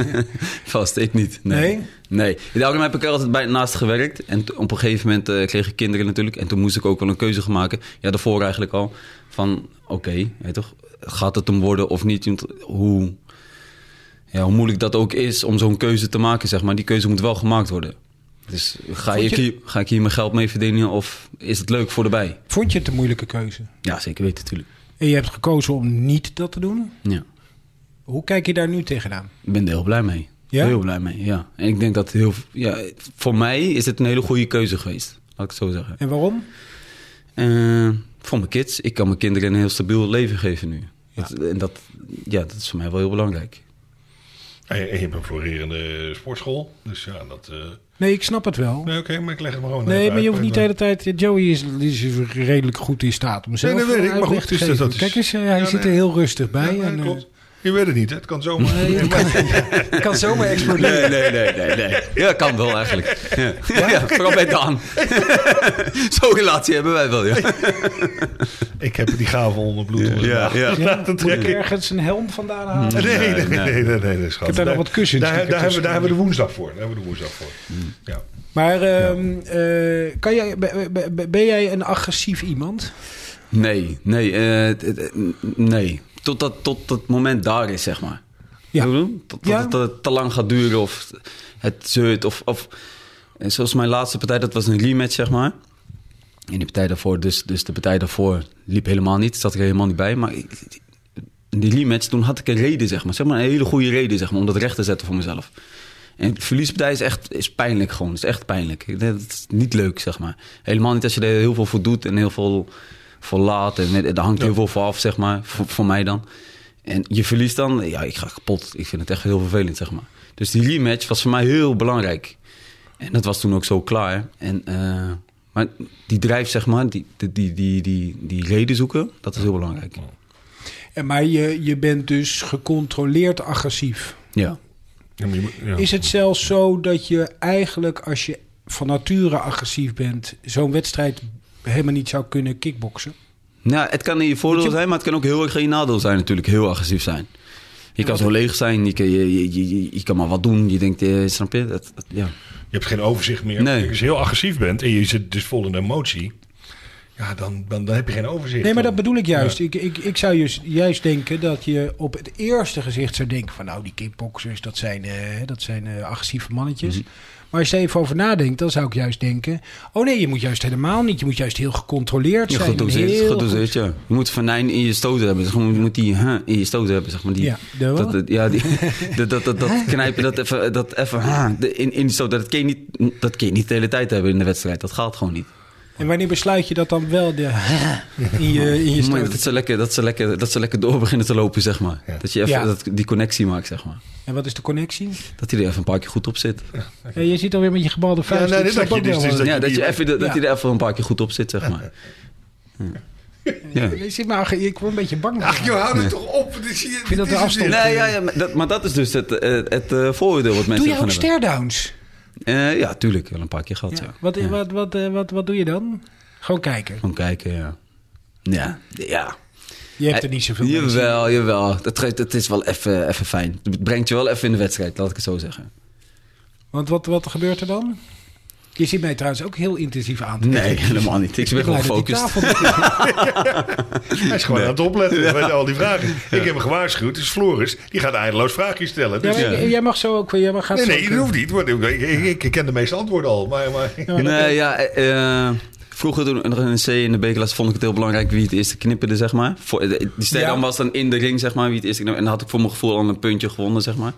[SPEAKER 5] vast, ik niet. Nee.
[SPEAKER 1] Nee?
[SPEAKER 5] Nee. Daarom heb ik er altijd bij naast gewerkt. En t- op een gegeven moment eh, kreeg ik kinderen natuurlijk. En toen moest ik ook wel een keuze gaan maken. Ja, daarvoor eigenlijk al. Van, oké, weet toch, gaat het hem worden of niet? Want Hoe, ja, hoe moeilijk dat ook is om zo'n keuze te maken, zeg maar. Die keuze moet wel gemaakt worden. Dus ga,
[SPEAKER 1] Vond
[SPEAKER 5] ik,
[SPEAKER 1] je-
[SPEAKER 5] hier, ga ik hier mijn geld mee verdienen of is het leuk voor de bij?
[SPEAKER 1] Vond je het een moeilijke keuze?
[SPEAKER 5] Ja, zeker weten natuurlijk.
[SPEAKER 1] En je hebt gekozen om niet dat te doen.
[SPEAKER 5] Ja.
[SPEAKER 1] Hoe kijk je daar nu tegenaan?
[SPEAKER 5] Ik ben er heel blij mee.
[SPEAKER 1] Ja?
[SPEAKER 5] Heel blij mee, ja. En ik denk dat heel... Ja, voor mij is het een hele goede keuze geweest. Laat ik het zo zeggen.
[SPEAKER 1] En waarom?
[SPEAKER 5] Eh, voor mijn kids. Ik kan mijn kinderen een heel stabiel leven geven nu. Dat- en dat, ja, dat is voor mij wel heel belangrijk.
[SPEAKER 4] En je, en je hebt een florerende sportschool. Dus ja, dat... eh,
[SPEAKER 1] Nee, ik snap het wel.
[SPEAKER 4] nee, oké, maar ik leg het maar gewoon
[SPEAKER 1] Nee,
[SPEAKER 4] even
[SPEAKER 1] maar je
[SPEAKER 4] uit.
[SPEAKER 1] hoeft niet de hele tijd... Joey is, is redelijk goed in staat om zelf
[SPEAKER 4] Nee, dat weet ik, maar
[SPEAKER 1] uitleg te
[SPEAKER 4] goed, dus dat-
[SPEAKER 1] geven.
[SPEAKER 4] dat is-
[SPEAKER 1] Kijk eens, eh, hij
[SPEAKER 4] Ja,
[SPEAKER 1] zit er
[SPEAKER 4] nee.
[SPEAKER 1] heel rustig
[SPEAKER 4] Ja,
[SPEAKER 1] bij.
[SPEAKER 4] nee,
[SPEAKER 1] en, eh,
[SPEAKER 4] klopt. Je weet het niet, hè? het kan zomaar.
[SPEAKER 1] Nee, het kan zomaar exploderen.
[SPEAKER 5] Nee, nee, nee, nee. nee. Ja, kan wel eigenlijk. Ja. Ja? vooral bij Daan. Zo'n relatie hebben wij wel, ja.
[SPEAKER 4] Ik heb die gavel onder bloed. onder de maag.
[SPEAKER 1] Ja,
[SPEAKER 4] dat
[SPEAKER 1] moet ik
[SPEAKER 4] trek ik.
[SPEAKER 1] ergens een helm vandaan halen?
[SPEAKER 4] Nee, nee, nee,
[SPEAKER 5] Nee,
[SPEAKER 4] nee, nee, nee, nee, schat.
[SPEAKER 1] heb daar nog wat kussens Hmm. die
[SPEAKER 4] Daar,
[SPEAKER 1] ik
[SPEAKER 4] daar,
[SPEAKER 1] ertussen
[SPEAKER 4] hebben, we- daar hebben we de woensdag voor. Daar hebben we de woensdag voor. Ja.
[SPEAKER 1] Maar ehm, eh, kan jij, be- be- be- ben jij een agressief iemand?
[SPEAKER 5] Nee, nee, eh, het- het- eh, nee. Tot dat, tot dat moment daar is, zeg maar.
[SPEAKER 1] Ja.
[SPEAKER 5] Weet je wat ik bedoel? Tot, tot
[SPEAKER 1] Ja.
[SPEAKER 5] het eh, te lang gaat duren of het zeurt. Of, of, en zoals mijn laatste partij, dat was een rematch, zeg maar. En die partij daarvoor, dus, dus de partij daarvoor liep helemaal niet. Zat ik er helemaal niet bij. Maar ik- in die rematch, toen had ik een reden, zeg maar. Zeg maar een hele goede reden, zeg maar, om dat recht te zetten voor mezelf. En de verliespartij is echt is pijnlijk gewoon. is echt pijnlijk. Ik denk, Dat is niet leuk, zeg maar. Helemaal niet als je er heel veel voor doet en heel veel voor laat. En er hangt heel veel voor af, zeg maar, voor, voor mij dan. En je verliest dan, ja, ik ga kapot. Ik vind het echt heel vervelend, zeg maar. Dus die rematch was voor mij heel belangrijk. En dat was toen ook zo klaar. En, eh, maar die drijf, zeg maar, die, die, die, die, die, die reden zoeken, dat is heel belangrijk.
[SPEAKER 1] En Eh, Maar je, je bent dus gecontroleerd agressief.
[SPEAKER 5] Ja.
[SPEAKER 4] Ja, maar je moet- ja.
[SPEAKER 1] Is het zelfs zo dat je eigenlijk als je van nature agressief bent... zo'n wedstrijd helemaal niet zou kunnen kickboksen?
[SPEAKER 5] Nou, het kan in je voordeel
[SPEAKER 1] Moet je-
[SPEAKER 5] zijn, maar het kan ook heel erg in je nadeel zijn natuurlijk. Heel agressief zijn. Je kan zo leeg zijn, je, kan- je, je, je, je kan maar wat doen. Je denkt, eh, snap je? Dat, dat- ja.
[SPEAKER 4] Je hebt geen overzicht meer.
[SPEAKER 5] Nee.
[SPEAKER 4] Als je heel agressief bent en je zit dus vol in emotie, ja, dan, dan, dan heb je geen overzicht.
[SPEAKER 1] Nee, maar
[SPEAKER 4] Dan-
[SPEAKER 1] dat bedoel ik juist.
[SPEAKER 4] Ja.
[SPEAKER 1] Ik, ik, ik zou juist, juist denken dat je op het eerste gezicht zou denken... van nou, die kickboxers, dat zijn, eh, dat zijn eh, agressieve mannetjes. Maar als je er even over nadenkt, dan zou ik juist denken... oh nee, je moet juist helemaal niet. Je moet juist heel gecontroleerd
[SPEAKER 5] Je
[SPEAKER 1] zijn. en
[SPEAKER 5] gedoseerd,
[SPEAKER 1] heel
[SPEAKER 5] gedoseerd, ja. Je moet venijn in je stoten hebben. Zeg maar, je moet die huh, in je stoten hebben, zeg maar. Die,
[SPEAKER 1] Ja, de wat?
[SPEAKER 5] dat, dat- ja, die, dat, dat, dat, dat knijpen, dat even, dat even huh, de- in, in die stoten. Dat kun, je niet, dat kun je niet de hele tijd hebben in de wedstrijd. Dat gaat gewoon niet.
[SPEAKER 1] En wanneer besluit je dat dan wel de in je, in je
[SPEAKER 5] Maar
[SPEAKER 1] stoot?
[SPEAKER 5] dat, ze lekker, dat, ze lekker, dat ze lekker door beginnen te lopen, zeg maar.
[SPEAKER 4] Ja.
[SPEAKER 5] Dat je even
[SPEAKER 1] Ja.
[SPEAKER 5] dat, die connectie maakt, zeg maar.
[SPEAKER 1] En wat is de connectie?
[SPEAKER 5] Dat hij er even een paar keer goed op zit.
[SPEAKER 1] Ja, je zit alweer met je gebalde vuist.
[SPEAKER 4] nee,
[SPEAKER 1] Ik
[SPEAKER 4] dit
[SPEAKER 1] snap
[SPEAKER 4] dacht je,
[SPEAKER 1] ook
[SPEAKER 4] dit
[SPEAKER 1] wel,
[SPEAKER 4] is- dit is
[SPEAKER 1] eh,
[SPEAKER 5] ja, dat, je
[SPEAKER 4] die-
[SPEAKER 5] even, dat
[SPEAKER 1] Ja.
[SPEAKER 5] hij er even een paar keer goed op zit, zeg maar. Ja.
[SPEAKER 1] je zit maar, ag- ik word een beetje bang.
[SPEAKER 4] Ach joh, hou er toch op. Dit zie je,
[SPEAKER 1] vind dat
[SPEAKER 4] dit
[SPEAKER 1] de
[SPEAKER 4] is het
[SPEAKER 1] afstand.
[SPEAKER 5] Nee, ja, ja, maar, dat, maar dat is dus het, eh, het eh, vooroordeel wat mensen
[SPEAKER 1] Doe jij
[SPEAKER 5] ervan
[SPEAKER 1] ook
[SPEAKER 5] hebben.
[SPEAKER 1] stairdowns?
[SPEAKER 5] Eh, ja, tuurlijk. Wel een paar keer gehad, ja.
[SPEAKER 1] Ja. Wat,
[SPEAKER 5] Ja.
[SPEAKER 1] Wat, wat, eh, wat, wat doe je dan? Gewoon kijken.
[SPEAKER 5] Gewoon kijken, ja. Ja, ja.
[SPEAKER 1] Je
[SPEAKER 5] Eh,
[SPEAKER 1] hebt er niet zoveel mee te zien.
[SPEAKER 5] Jawel, jawel. Het, geeft- het is wel even even fijn. Het brengt je wel even in de wedstrijd, laat ik het zo zeggen.
[SPEAKER 1] Want wat, wat gebeurt er dan? Je zit mij trouwens ook heel intensief aan te
[SPEAKER 5] Nee, helemaal niet. Ik ben
[SPEAKER 1] kijken.
[SPEAKER 5] gewoon
[SPEAKER 1] Ik blij dat die
[SPEAKER 5] gefocust.
[SPEAKER 1] tafel niet is.
[SPEAKER 4] Hij is gewoon aan het opletten met al die vragen. Ik heb hem gewaarschuwd, dus Floris, die gaat eindeloos vraagjes stellen.
[SPEAKER 1] Ja,
[SPEAKER 4] Dus-
[SPEAKER 1] maar jij- Jij mag zo ook. Jij mag, gaat
[SPEAKER 4] Nee,
[SPEAKER 1] zo
[SPEAKER 4] nee,
[SPEAKER 1] ook,
[SPEAKER 4] dat
[SPEAKER 1] eh,
[SPEAKER 4] hoeft niet. want Ik, ik, ik ken de meeste antwoorden al. Maar, maar,
[SPEAKER 5] Nee, ja, eh, eh, vroeger toen nog in de C in de B-klas vond ik het heel belangrijk wie het eerste knipperde, zeg maar. Voor, eh, die ster
[SPEAKER 1] Ja.
[SPEAKER 5] was dan in de ring, zeg maar, wie het eerste knipperde. En dan had ik voor mijn gevoel al een puntje gewonnen, zeg maar.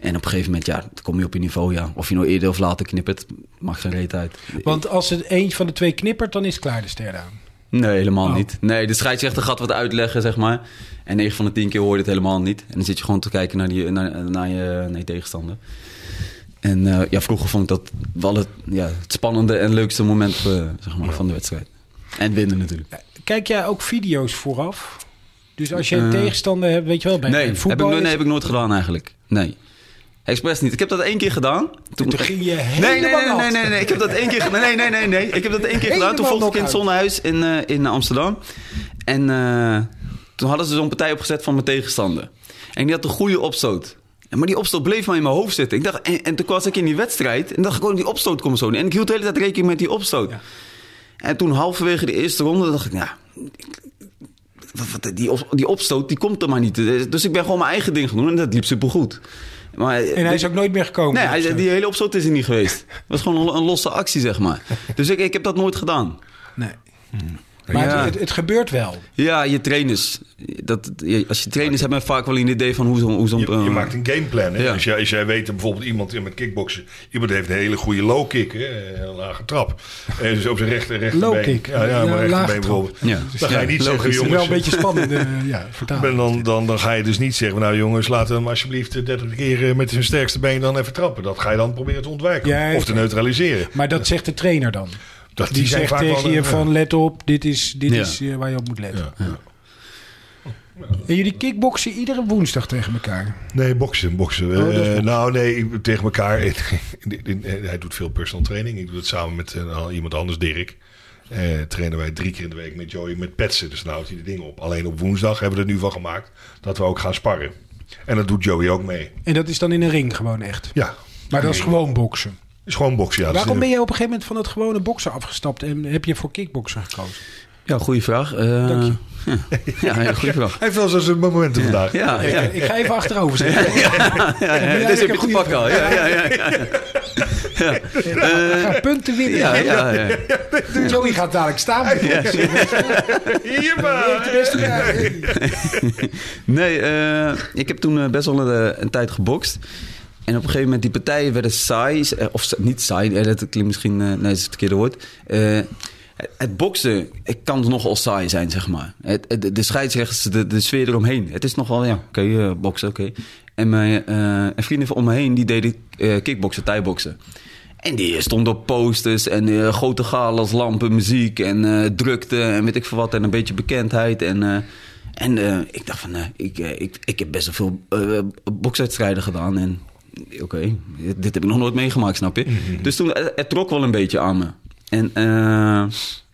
[SPEAKER 5] En op een gegeven moment, ja, dan kom je op je niveau, ja. Of je nou eerder of later knippert, mag geen reet uit.
[SPEAKER 1] Want als er eentje van de twee knippert, dan is klaar de ster aan.
[SPEAKER 5] Nee, helemaal
[SPEAKER 1] Oh.
[SPEAKER 5] niet. Nee, de scheidsrechter gaat wat uitleggen, zeg maar. En 9 van de 10 keer hoor je het helemaal niet. En dan zit je gewoon te kijken naar, die, naar, naar je, naar je tegenstander. En eh, ja, vroeger vond ik dat wel het, ja, het spannende en leukste moment eh, zeg maar, van de wedstrijd. En winnen natuurlijk.
[SPEAKER 1] Kijk jij ook video's vooraf? Dus als je een
[SPEAKER 5] Eh,
[SPEAKER 1] tegenstander hebt, weet je wel, bij bij
[SPEAKER 5] nee, heb ik,
[SPEAKER 1] voetbal...
[SPEAKER 5] no- nee,
[SPEAKER 1] is-
[SPEAKER 5] heb ik nooit gedaan eigenlijk. Nee. Expres niet. Ik heb dat één keer gedaan. Toen,
[SPEAKER 1] Toen ging je helemaal
[SPEAKER 5] Nee, nee, nee,
[SPEAKER 1] nat.
[SPEAKER 5] nee, nee, nee. Ik heb dat één keer gedaan. Nee, nee, nee, nee. Ik heb dat één keer gedaan. Toen
[SPEAKER 1] Helemaal
[SPEAKER 5] volgde ik in het
[SPEAKER 1] knock-out.
[SPEAKER 5] zonnehuis in, eh, in Amsterdam. En eh, toen hadden ze zo'n partij opgezet van mijn tegenstander. En die had een goede opstoot. En Maar die opstoot bleef maar in mijn hoofd zitten. Ik dacht, en, en toen was ik in die wedstrijd. En dacht ik, oh, die opstoot komt zo. niet. En ik hield de hele tijd rekening met die opstoot.
[SPEAKER 1] Ja.
[SPEAKER 5] En toen halverwege de eerste ronde dacht ik, nou, wat- wat- die, op- die opstoot die komt er maar niet. Dus ik ben gewoon mijn eigen ding gaan doen en dat liep supergoed. Maar,
[SPEAKER 1] En hij is ook nooit meer gekomen.
[SPEAKER 5] Nee, hij, zei, die hele opstoot is er niet geweest. Het was gewoon een, een losse actie, zeg maar. Dus ik, ik heb dat nooit gedaan.
[SPEAKER 1] Nee. Maar
[SPEAKER 5] Ja.
[SPEAKER 1] het, het, het gebeurt wel.
[SPEAKER 5] Ja, je trainers. Dat, je- als je trainers hebben vaak wel een idee van hoe zo'n... Hoe zo'n
[SPEAKER 4] Je, je
[SPEAKER 5] eh,
[SPEAKER 4] maakt een gameplan. Hè?
[SPEAKER 5] Ja.
[SPEAKER 4] Als, jij, als jij weet dat bijvoorbeeld iemand in met kickboksen... iemand heeft een hele goede low kick, hè? een lage trap. En dus op zijn rechter, rechterbeen.
[SPEAKER 1] Low kick,
[SPEAKER 4] Ja, ja,
[SPEAKER 1] ja,
[SPEAKER 4] maar
[SPEAKER 1] lage
[SPEAKER 4] rechterbeen
[SPEAKER 1] trap.
[SPEAKER 4] bijvoorbeeld.
[SPEAKER 5] Ja. Dus
[SPEAKER 4] Dan ga je
[SPEAKER 5] Ja,
[SPEAKER 4] niet zeggen,
[SPEAKER 5] logisch.
[SPEAKER 1] Het is wel
[SPEAKER 4] jongens...
[SPEAKER 1] een beetje spannend, eh, ja,
[SPEAKER 4] ben
[SPEAKER 1] vertalen.
[SPEAKER 4] dan, dan, dan ga je dus niet zeggen, nou jongens, laat hem alsjeblieft de 30 keer eh, met zijn sterkste been dan even trappen. Dat ga je dan proberen te ontwijken
[SPEAKER 1] Ja,
[SPEAKER 4] of te neutraliseren.
[SPEAKER 1] Maar dat zegt de trainer dan.
[SPEAKER 4] Dat,
[SPEAKER 1] Die
[SPEAKER 4] zijn
[SPEAKER 1] zegt
[SPEAKER 4] vaak wel
[SPEAKER 1] tegen
[SPEAKER 4] een- eh,
[SPEAKER 1] je van let op, dit is, dit
[SPEAKER 5] Ja.
[SPEAKER 1] is eh, waar je op moet letten.
[SPEAKER 4] Ja, ja.
[SPEAKER 1] En jullie kickboksen iedere woensdag tegen elkaar.
[SPEAKER 4] Nee, boksen, boksen.
[SPEAKER 1] dat is
[SPEAKER 4] Eh,
[SPEAKER 1] boksen.
[SPEAKER 4] nou, nee, ik- tegen elkaar. eh, Hij doet veel personal training. Ik doe het samen met eh, iemand anders, Dirk. Eh, trainen wij drie keer in de week met Joey met petsen. Dus nou houdt hij de dingen op. Alleen op woensdag hebben we er nu van gemaakt dat we ook gaan sparren. En dat doet Joey ook mee.
[SPEAKER 1] En dat is dan in een ring gewoon echt.
[SPEAKER 4] Ja,
[SPEAKER 1] Maar dat is
[SPEAKER 4] Nee.
[SPEAKER 1] gewoon boksen.
[SPEAKER 4] is gewoon boksen. Ja. Dat is-
[SPEAKER 1] Waarom ben je op een gegeven moment van het gewone boksen afgestapt en heb je voor kickboksen gekozen?
[SPEAKER 5] Ja, goede vraag. Eh,
[SPEAKER 1] Dank je.
[SPEAKER 5] Ja, ja goede vraag.
[SPEAKER 4] Hij heeft wel zijn momenten vandaag.
[SPEAKER 5] Ja, ja.
[SPEAKER 1] Ik, ik ga even achterover zitten.
[SPEAKER 5] Ja, ja,
[SPEAKER 1] Ja,
[SPEAKER 5] Deze
[SPEAKER 1] ik heb
[SPEAKER 5] heb je te pakken al. Ja, ja, ja. ja,
[SPEAKER 1] Ik ga punten winnen.
[SPEAKER 5] ja, ja, ja.
[SPEAKER 1] Joey gaat dadelijk staan.
[SPEAKER 4] Hier maar.
[SPEAKER 5] Nee, eh, ik heb toen eh, best wel een, een tijd gebokst. En op een gegeven moment, die partijen werden saai. eh, Of sa- niet saai, eh, dat klinkt misschien... eh, nee, dat is het verkeerde woord. Eh, het boksen het kan nogal saai zijn, zeg maar. Het, het- de scheidsrechters, de, de sfeer eromheen. Het is nogal, ja, oké, eh, boksen, oké. En mijn eh, en vrienden van om me heen, die deden eh kickboksen, thai-boksen. En die stond op posters en eh, grote galas, lampen, muziek en eh, drukte en weet ik veel wat. En een beetje bekendheid. En, eh, en eh, ik dacht van, eh, ik, eh, ik, ik heb best wel veel eh bokswedstrijden gedaan. En eh, oké, dit, dit heb ik nog nooit meegemaakt, snap je? Dus toen, het, het trok wel een beetje aan me. En eh,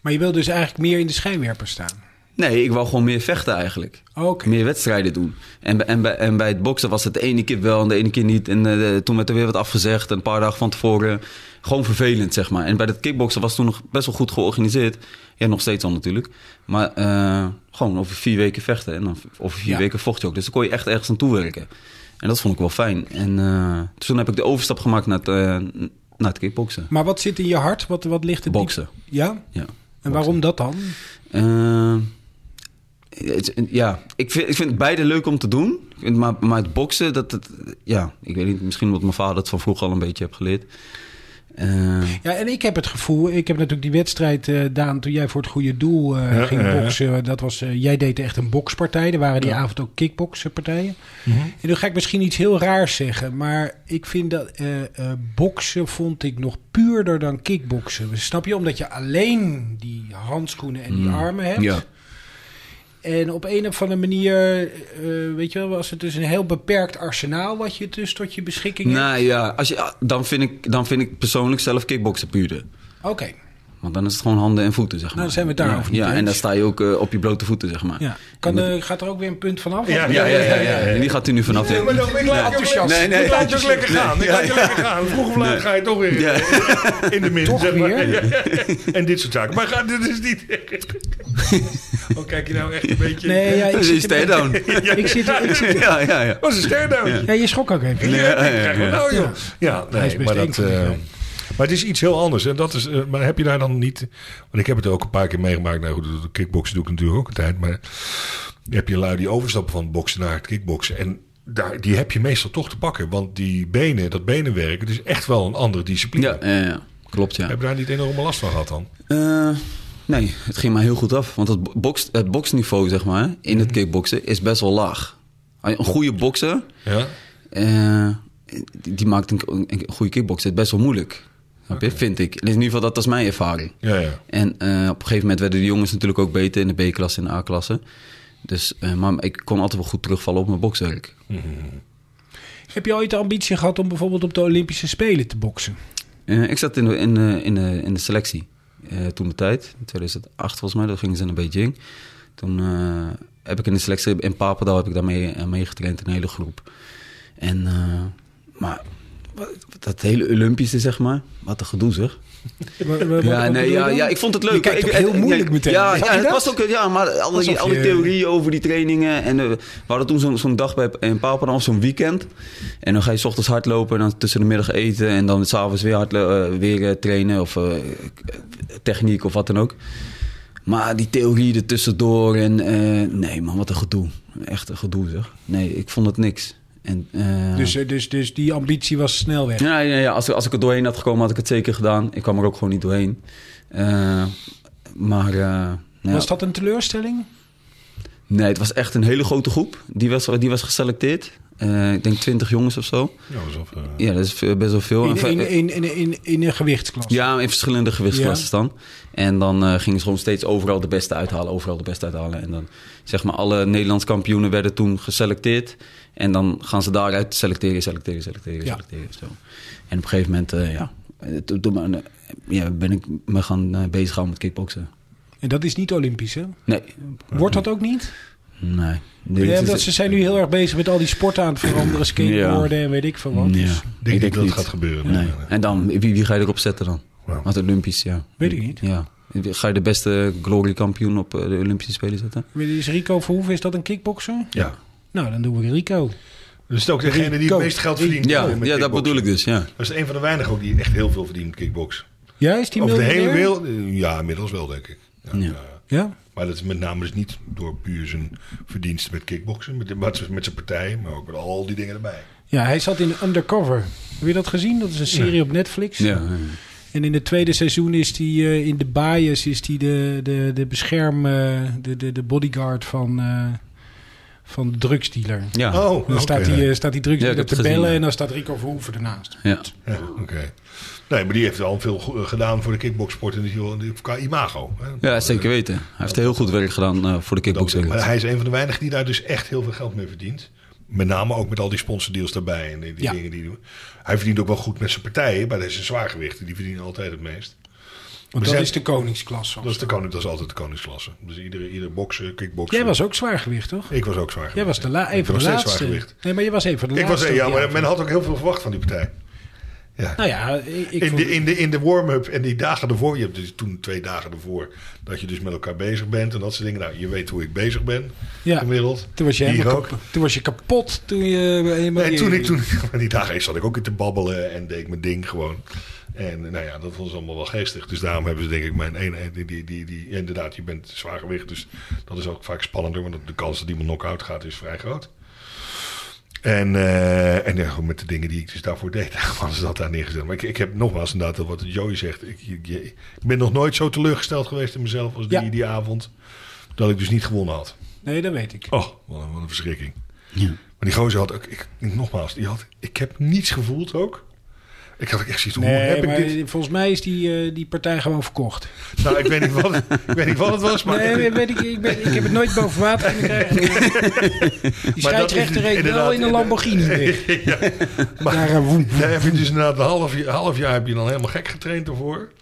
[SPEAKER 1] Maar je wil dus eigenlijk meer in de schijnwerper staan.
[SPEAKER 5] nee, ik wou gewoon meer vechten eigenlijk.
[SPEAKER 1] Oké.
[SPEAKER 5] Meer wedstrijden doen. En, bij- en, bij- en bij het boksen was het de ene keer wel en de ene keer niet. En eh, toen werd er weer wat afgezegd, een paar dagen van tevoren. Gewoon vervelend, zeg maar. En bij dat kickboksen was toen nog best wel goed georganiseerd. Ja, nog steeds al natuurlijk. Maar eh, gewoon over vier weken vechten. En dan v- over vier
[SPEAKER 1] Ja.
[SPEAKER 5] weken vocht je ook. Dus dan kon je echt ergens aan toewerken. En dat vond ik wel fijn. En eh, dus toen heb ik de overstap gemaakt naar het, eh, naar het kickboksen.
[SPEAKER 1] Maar wat zit in je hart? Wat, wat ligt er diep-
[SPEAKER 5] Boksen.
[SPEAKER 1] Ja?
[SPEAKER 5] Ja.
[SPEAKER 1] En waarom dat dan?
[SPEAKER 5] Eh, het- ja, ik vind, ik vind beide leuk om te doen. Ik vind- Maar, maar het boksen, dat, dat, ja, ik weet niet, misschien omdat mijn vader het van vroeger al een beetje heeft geleerd. Eh,
[SPEAKER 1] Ja, en ik heb het gevoel, ik heb natuurlijk die wedstrijd, eh, Daan, toen jij voor het goede doel eh,
[SPEAKER 4] Ja,
[SPEAKER 1] ging
[SPEAKER 4] ja, ja.
[SPEAKER 1] boksen. Dat was, eh, jij deed echt een bokspartij. Er waren die avond ook kickbokspartijen. En nu ga ik misschien iets heel raars zeggen, maar ik vind dat eh, eh, boksen vond ik nog puurder dan kickboksen. Snap je? Omdat je alleen die handschoenen en die armen hebt.
[SPEAKER 5] ja.
[SPEAKER 1] En op een of andere manier, eh, weet je wel, was het dus een heel beperkt arsenaal wat je dus tot je beschikking hebt.
[SPEAKER 5] Nou ja, als je, ah, dan, vind ik, dan vind ik persoonlijk zelf kickboksen puurder.
[SPEAKER 1] Oké,
[SPEAKER 5] Want dan is het gewoon handen en voeten, zeg maar.
[SPEAKER 1] dan Nou, zijn we het daarover
[SPEAKER 5] ja,
[SPEAKER 1] niet
[SPEAKER 5] Ja, en
[SPEAKER 1] eens.
[SPEAKER 5] dan sta je ook eh, op je blote voeten, zeg maar.
[SPEAKER 1] ja.
[SPEAKER 5] En
[SPEAKER 1] Kan,
[SPEAKER 5] dat-
[SPEAKER 1] eh, gaat er ook weer een punt vanaf?
[SPEAKER 4] Ja,
[SPEAKER 5] ja, ja, ja, ja. En die gaat u nu vanaf.
[SPEAKER 4] Nee, maar dan ik laat je ook lekker-
[SPEAKER 1] Enthousiast.
[SPEAKER 5] Nee, nee.
[SPEAKER 4] ik laat je ook lekker gaan. Ik laat je lekker gaan. Vroeg of laat ga je toch weer
[SPEAKER 5] Ja.
[SPEAKER 4] eh, in de min.
[SPEAKER 1] Toch
[SPEAKER 4] zeg maar.
[SPEAKER 1] weer?
[SPEAKER 4] Ja, ja, ja. En dit soort zaken. Maar ga, dit is niet... Oh, kijk je nou echt een beetje...
[SPEAKER 1] Nee, ja, ik
[SPEAKER 5] Dus
[SPEAKER 1] zit,
[SPEAKER 5] je stay down.
[SPEAKER 1] er- ik zit, er- ik zit er-
[SPEAKER 5] Ja, ja, ja.
[SPEAKER 4] was een sterdootje.
[SPEAKER 1] Ja, je schrok ook even.
[SPEAKER 5] Ja, ja, ja,
[SPEAKER 4] Krijg
[SPEAKER 5] ja.
[SPEAKER 4] maar nou, joh. Ja,
[SPEAKER 1] is
[SPEAKER 4] nee,
[SPEAKER 1] best
[SPEAKER 4] maar
[SPEAKER 1] eng
[SPEAKER 4] dat...
[SPEAKER 1] voor die
[SPEAKER 4] eh,
[SPEAKER 1] guy.
[SPEAKER 4] maar het is iets heel anders. En dat is, eh, maar heb je daar dan niet... Want ik heb het ook een paar keer meegemaakt. Nou, goed, de kickboksen doe ik natuurlijk ook een tijd. Maar heb je lui die overstappen van het boksen naar het kickboksen. En daar, die heb je meestal toch te pakken. Want die benen, dat benenwerk, het is echt wel een andere discipline.
[SPEAKER 5] Ja, ja, ja. klopt ja.
[SPEAKER 4] Heb je daar niet enorme last van gehad dan?
[SPEAKER 5] Eh, nee, het ging mij heel goed af. Want het, box, het boksniveau, zeg maar, in het kickboksen is best wel laag. Ah, Een goede bokser,
[SPEAKER 4] Ja?
[SPEAKER 5] eh, die, die maakt een, een goede kickbokser het best wel moeilijk. Snap je? Vind ik. In ieder geval, dat was mijn ervaring.
[SPEAKER 4] Ja, ja.
[SPEAKER 5] En eh, op een gegeven moment werden de jongens natuurlijk ook beter in de B-klasse en de A-klasse. Dus, eh, maar ik kon altijd wel goed terugvallen op mijn bokswerk.
[SPEAKER 1] Heb je ooit de ambitie gehad om bijvoorbeeld op de Olympische Spelen te boksen?
[SPEAKER 5] Eh, ik zat in de, in, de- in, de, in de selectie eh, toen de tijd, in 2008 volgens mij, dat gingen ze naar Beijing. Toen eh, heb ik in de selectie in Papendal heb ik daarmee eh, meegetraind, een hele groep. En, eh, maar wat- dat hele Olympische, zeg maar, wat een gedoe zeg. Ja, nee, ja, ja, ik vond het leuk.
[SPEAKER 1] Je kijkt
[SPEAKER 5] ik,
[SPEAKER 1] ook heel
[SPEAKER 5] eh,
[SPEAKER 1] moeilijk
[SPEAKER 5] ja,
[SPEAKER 1] meteen.
[SPEAKER 5] Ja,
[SPEAKER 1] Zag
[SPEAKER 5] ja
[SPEAKER 1] je
[SPEAKER 5] het
[SPEAKER 1] dat?
[SPEAKER 5] was ook, ja maar alle,
[SPEAKER 1] Alsof
[SPEAKER 5] die, alle
[SPEAKER 1] je-
[SPEAKER 5] theorieën over die trainingen. En, eh, we hadden toen zo'n zo'n dag bij, in Papendal, zo'n weekend. En dan ga je 's ochtends hardlopen en dan tussen de middag eten. En dan s'avonds weer, hardlo- eh, weer eh, trainen of eh, techniek of wat dan ook. Maar die theorie ertussendoor en eh, nee man, wat een gedoe. Echt een gedoe zeg. Nee, ik vond het niks. En, eh,
[SPEAKER 1] Dus, eh, dus, dus die ambitie was snel weg.
[SPEAKER 5] ja, ja, ja. Als, ik- als ik er doorheen had gekomen, had ik het zeker gedaan. Ik kwam er ook gewoon niet doorheen. Eh, maar. eh, nou ja.
[SPEAKER 1] Was dat een teleurstelling?
[SPEAKER 5] Nee, het was echt een hele grote groep. Die was, die was geselecteerd. Eh, ik denk 20 jongens of zo.
[SPEAKER 4] Ja, alsof, eh,
[SPEAKER 5] Ja, dat is eh, best wel veel. En
[SPEAKER 1] In,
[SPEAKER 5] va-
[SPEAKER 1] in, in, in, in, in een gewichtsklasse?
[SPEAKER 5] ja, in verschillende gewichtsklassen dan. En dan eh, gingen ze gewoon steeds overal de beste uithalen, overal de beste uithalen. En dan, zeg maar, alle Nederlands kampioenen werden toen geselecteerd. En dan gaan ze daaruit selecteren, selecteren, selecteren,
[SPEAKER 1] Ja.
[SPEAKER 5] selecteren. Zo. En op een gegeven moment, eh, ja, eh, toen- toen maar, eh, ja, ben ik me gaan eh, bezighouden met kickboksen.
[SPEAKER 1] En dat is niet Olympisch, hè?
[SPEAKER 5] Nee,
[SPEAKER 1] Wordt dat ook niet?
[SPEAKER 5] nee.
[SPEAKER 1] Ja,
[SPEAKER 5] Dit is-
[SPEAKER 1] dat ze zijn nu heel erg bezig met al die sporten aan het veranderen. Skateboarden en weet ik veel wat.
[SPEAKER 5] Ja,
[SPEAKER 1] Dus
[SPEAKER 4] Ik denk niet dat het gaat gebeuren.
[SPEAKER 5] Nee.
[SPEAKER 4] Nee, nee.
[SPEAKER 5] En dan, wie, wie ga je erop zetten dan?
[SPEAKER 4] Ja.
[SPEAKER 5] Want Olympisch, ja.
[SPEAKER 1] Weet ik niet.
[SPEAKER 5] Ja. Ga je de beste glory kampioen op eh, de Olympische Spelen zetten?
[SPEAKER 1] Is Rico Verhoeven, is dat een kickbokser?
[SPEAKER 4] Ja.
[SPEAKER 1] Nou, dan doen we Rico.
[SPEAKER 4] Dus het is ook degene die
[SPEAKER 1] Rico.
[SPEAKER 4] het meest geld verdient.
[SPEAKER 5] Ja,
[SPEAKER 4] met
[SPEAKER 5] ja dat
[SPEAKER 4] kickboksen.
[SPEAKER 5] bedoel ik dus, ja.
[SPEAKER 4] Dat is een van de weinigen ook die echt heel veel verdient met kickbox.
[SPEAKER 1] Ja, is die
[SPEAKER 4] Over de hele
[SPEAKER 1] miljardair?
[SPEAKER 4] wereld? eh, Ja, inmiddels wel, denk ik. Ja,
[SPEAKER 5] Ja.
[SPEAKER 4] ja.
[SPEAKER 1] Ja.
[SPEAKER 4] Maar dat is met name dus niet door puur zijn verdiensten met kickboksen. Met, met, met zijn partij, maar ook met al die dingen erbij.
[SPEAKER 1] ja, hij zat in Undercover. Heb je dat gezien? Dat is een serie op Netflix.
[SPEAKER 5] Ja, ja.
[SPEAKER 1] En in het tweede seizoen is hij eh, in de bias is die de, de, de bescherm, eh, de, de, de bodyguard van, eh, van de drugsdealer.
[SPEAKER 5] ja.
[SPEAKER 4] Oh,
[SPEAKER 1] Ah, Dan
[SPEAKER 4] oké.
[SPEAKER 1] staat die, eh, staat die
[SPEAKER 5] Ja,
[SPEAKER 1] drugsdealer
[SPEAKER 5] ik heb
[SPEAKER 1] te
[SPEAKER 5] het gezien,
[SPEAKER 1] bellen
[SPEAKER 5] ja.
[SPEAKER 1] en dan staat Rico Verhoeven ernaast.
[SPEAKER 5] ja.
[SPEAKER 4] Ja, oké. Nee, maar die heeft al veel go- gedaan voor de kickboksport en die- die- qua imago. hè. Eh,
[SPEAKER 5] Ja, zeker weten. Hij heeft heel goed werk gedaan eh, voor de
[SPEAKER 4] Dat- maar
[SPEAKER 5] kickboxer.
[SPEAKER 4] hij is een van de weinigen die daar dus echt heel veel geld mee verdient. Met name ook met al die sponsordeals daarbij en die, die
[SPEAKER 1] Ja.
[SPEAKER 4] dingen die hij doet. Hij verdient ook wel goed met zijn partijen, maar dat is een zwaargewicht. Die verdienen altijd het meest.
[SPEAKER 1] Want dat
[SPEAKER 4] zijn-
[SPEAKER 1] is de koningsklasse.
[SPEAKER 4] Dat is, de koning, dat is altijd de koningsklasse. Dus iedere, iedere bokser, kickbokser.
[SPEAKER 1] Jij was ook zwaargewicht, toch?
[SPEAKER 4] Ik was ook zwaargewicht.
[SPEAKER 1] Jij was de la- een
[SPEAKER 4] Ik
[SPEAKER 1] van de
[SPEAKER 4] was steeds
[SPEAKER 1] laatste.
[SPEAKER 4] zwaargewicht.
[SPEAKER 1] Nee, maar je was een van de
[SPEAKER 4] Ik was,
[SPEAKER 1] laatste.
[SPEAKER 4] ja,
[SPEAKER 1] op die
[SPEAKER 4] maar men
[SPEAKER 1] avond.
[SPEAKER 4] had ook heel veel verwacht van die partij. Ja.
[SPEAKER 1] Nou ja, ik, ik
[SPEAKER 4] in,
[SPEAKER 1] vond-
[SPEAKER 4] de, in, de, in de warm-up en die dagen ervoor. Je hebt dus toen twee dagen ervoor dat je dus met elkaar bezig bent en dat soort dingen. Nou, je weet hoe ik bezig ben
[SPEAKER 1] Ja.
[SPEAKER 4] gemiddeld.
[SPEAKER 1] toen, was je
[SPEAKER 4] Hier
[SPEAKER 1] helemaal
[SPEAKER 4] ook.
[SPEAKER 1] kap- toen was je kapot. Toen je helemaal
[SPEAKER 4] Nee, toen ik, toen ik- die dagen heen zat ik ook in te babbelen en deed ik mijn ding gewoon. En nou ja, dat was allemaal wel geestig. Dus daarom hebben ze denk ik mijn ene, die, die, die, die, inderdaad, je bent zwaargewicht. Dus dat is ook vaak spannender, want de kans dat iemand knock-out gaat is vrij groot. En, eh, en ja, gewoon met de dingen die ik dus daarvoor deed, hadden ze dat daar neergezet. Maar ik, ik heb nogmaals inderdaad wat Joey zegt. Ik, ik, ik ben nog nooit zo teleurgesteld geweest in mezelf als die,
[SPEAKER 1] Ja.
[SPEAKER 4] die avond. Dat ik dus niet gewonnen had.
[SPEAKER 1] Nee, dat weet ik.
[SPEAKER 4] Oh, wat een, wat een verschrikking.
[SPEAKER 5] Ja.
[SPEAKER 4] Maar die gozer had ook, ik, ik- nogmaals, die had, ik heb niets gevoeld ook. Ik had ook echt zoiets, hoe
[SPEAKER 1] Nee,
[SPEAKER 4] heb
[SPEAKER 1] maar
[SPEAKER 4] ik dit?
[SPEAKER 1] volgens mij is die, eh, die partij gewoon verkocht.
[SPEAKER 4] Nou, ik weet niet wat, ik weet niet wat het was, maar...
[SPEAKER 1] nee,
[SPEAKER 4] ik-
[SPEAKER 1] weet ik, ik, ben, ik heb het nooit boven water kunnen krijgen. Die
[SPEAKER 4] Maar dat is
[SPEAKER 1] scheidsrechter reed wel
[SPEAKER 4] inderdaad-
[SPEAKER 1] in een Lamborghini weg.
[SPEAKER 4] ja, maar
[SPEAKER 1] Daar, eh, woem.
[SPEAKER 4] daar heb je dus inderdaad een half jaar, half jaar heb je dan helemaal gek getraind ervoor.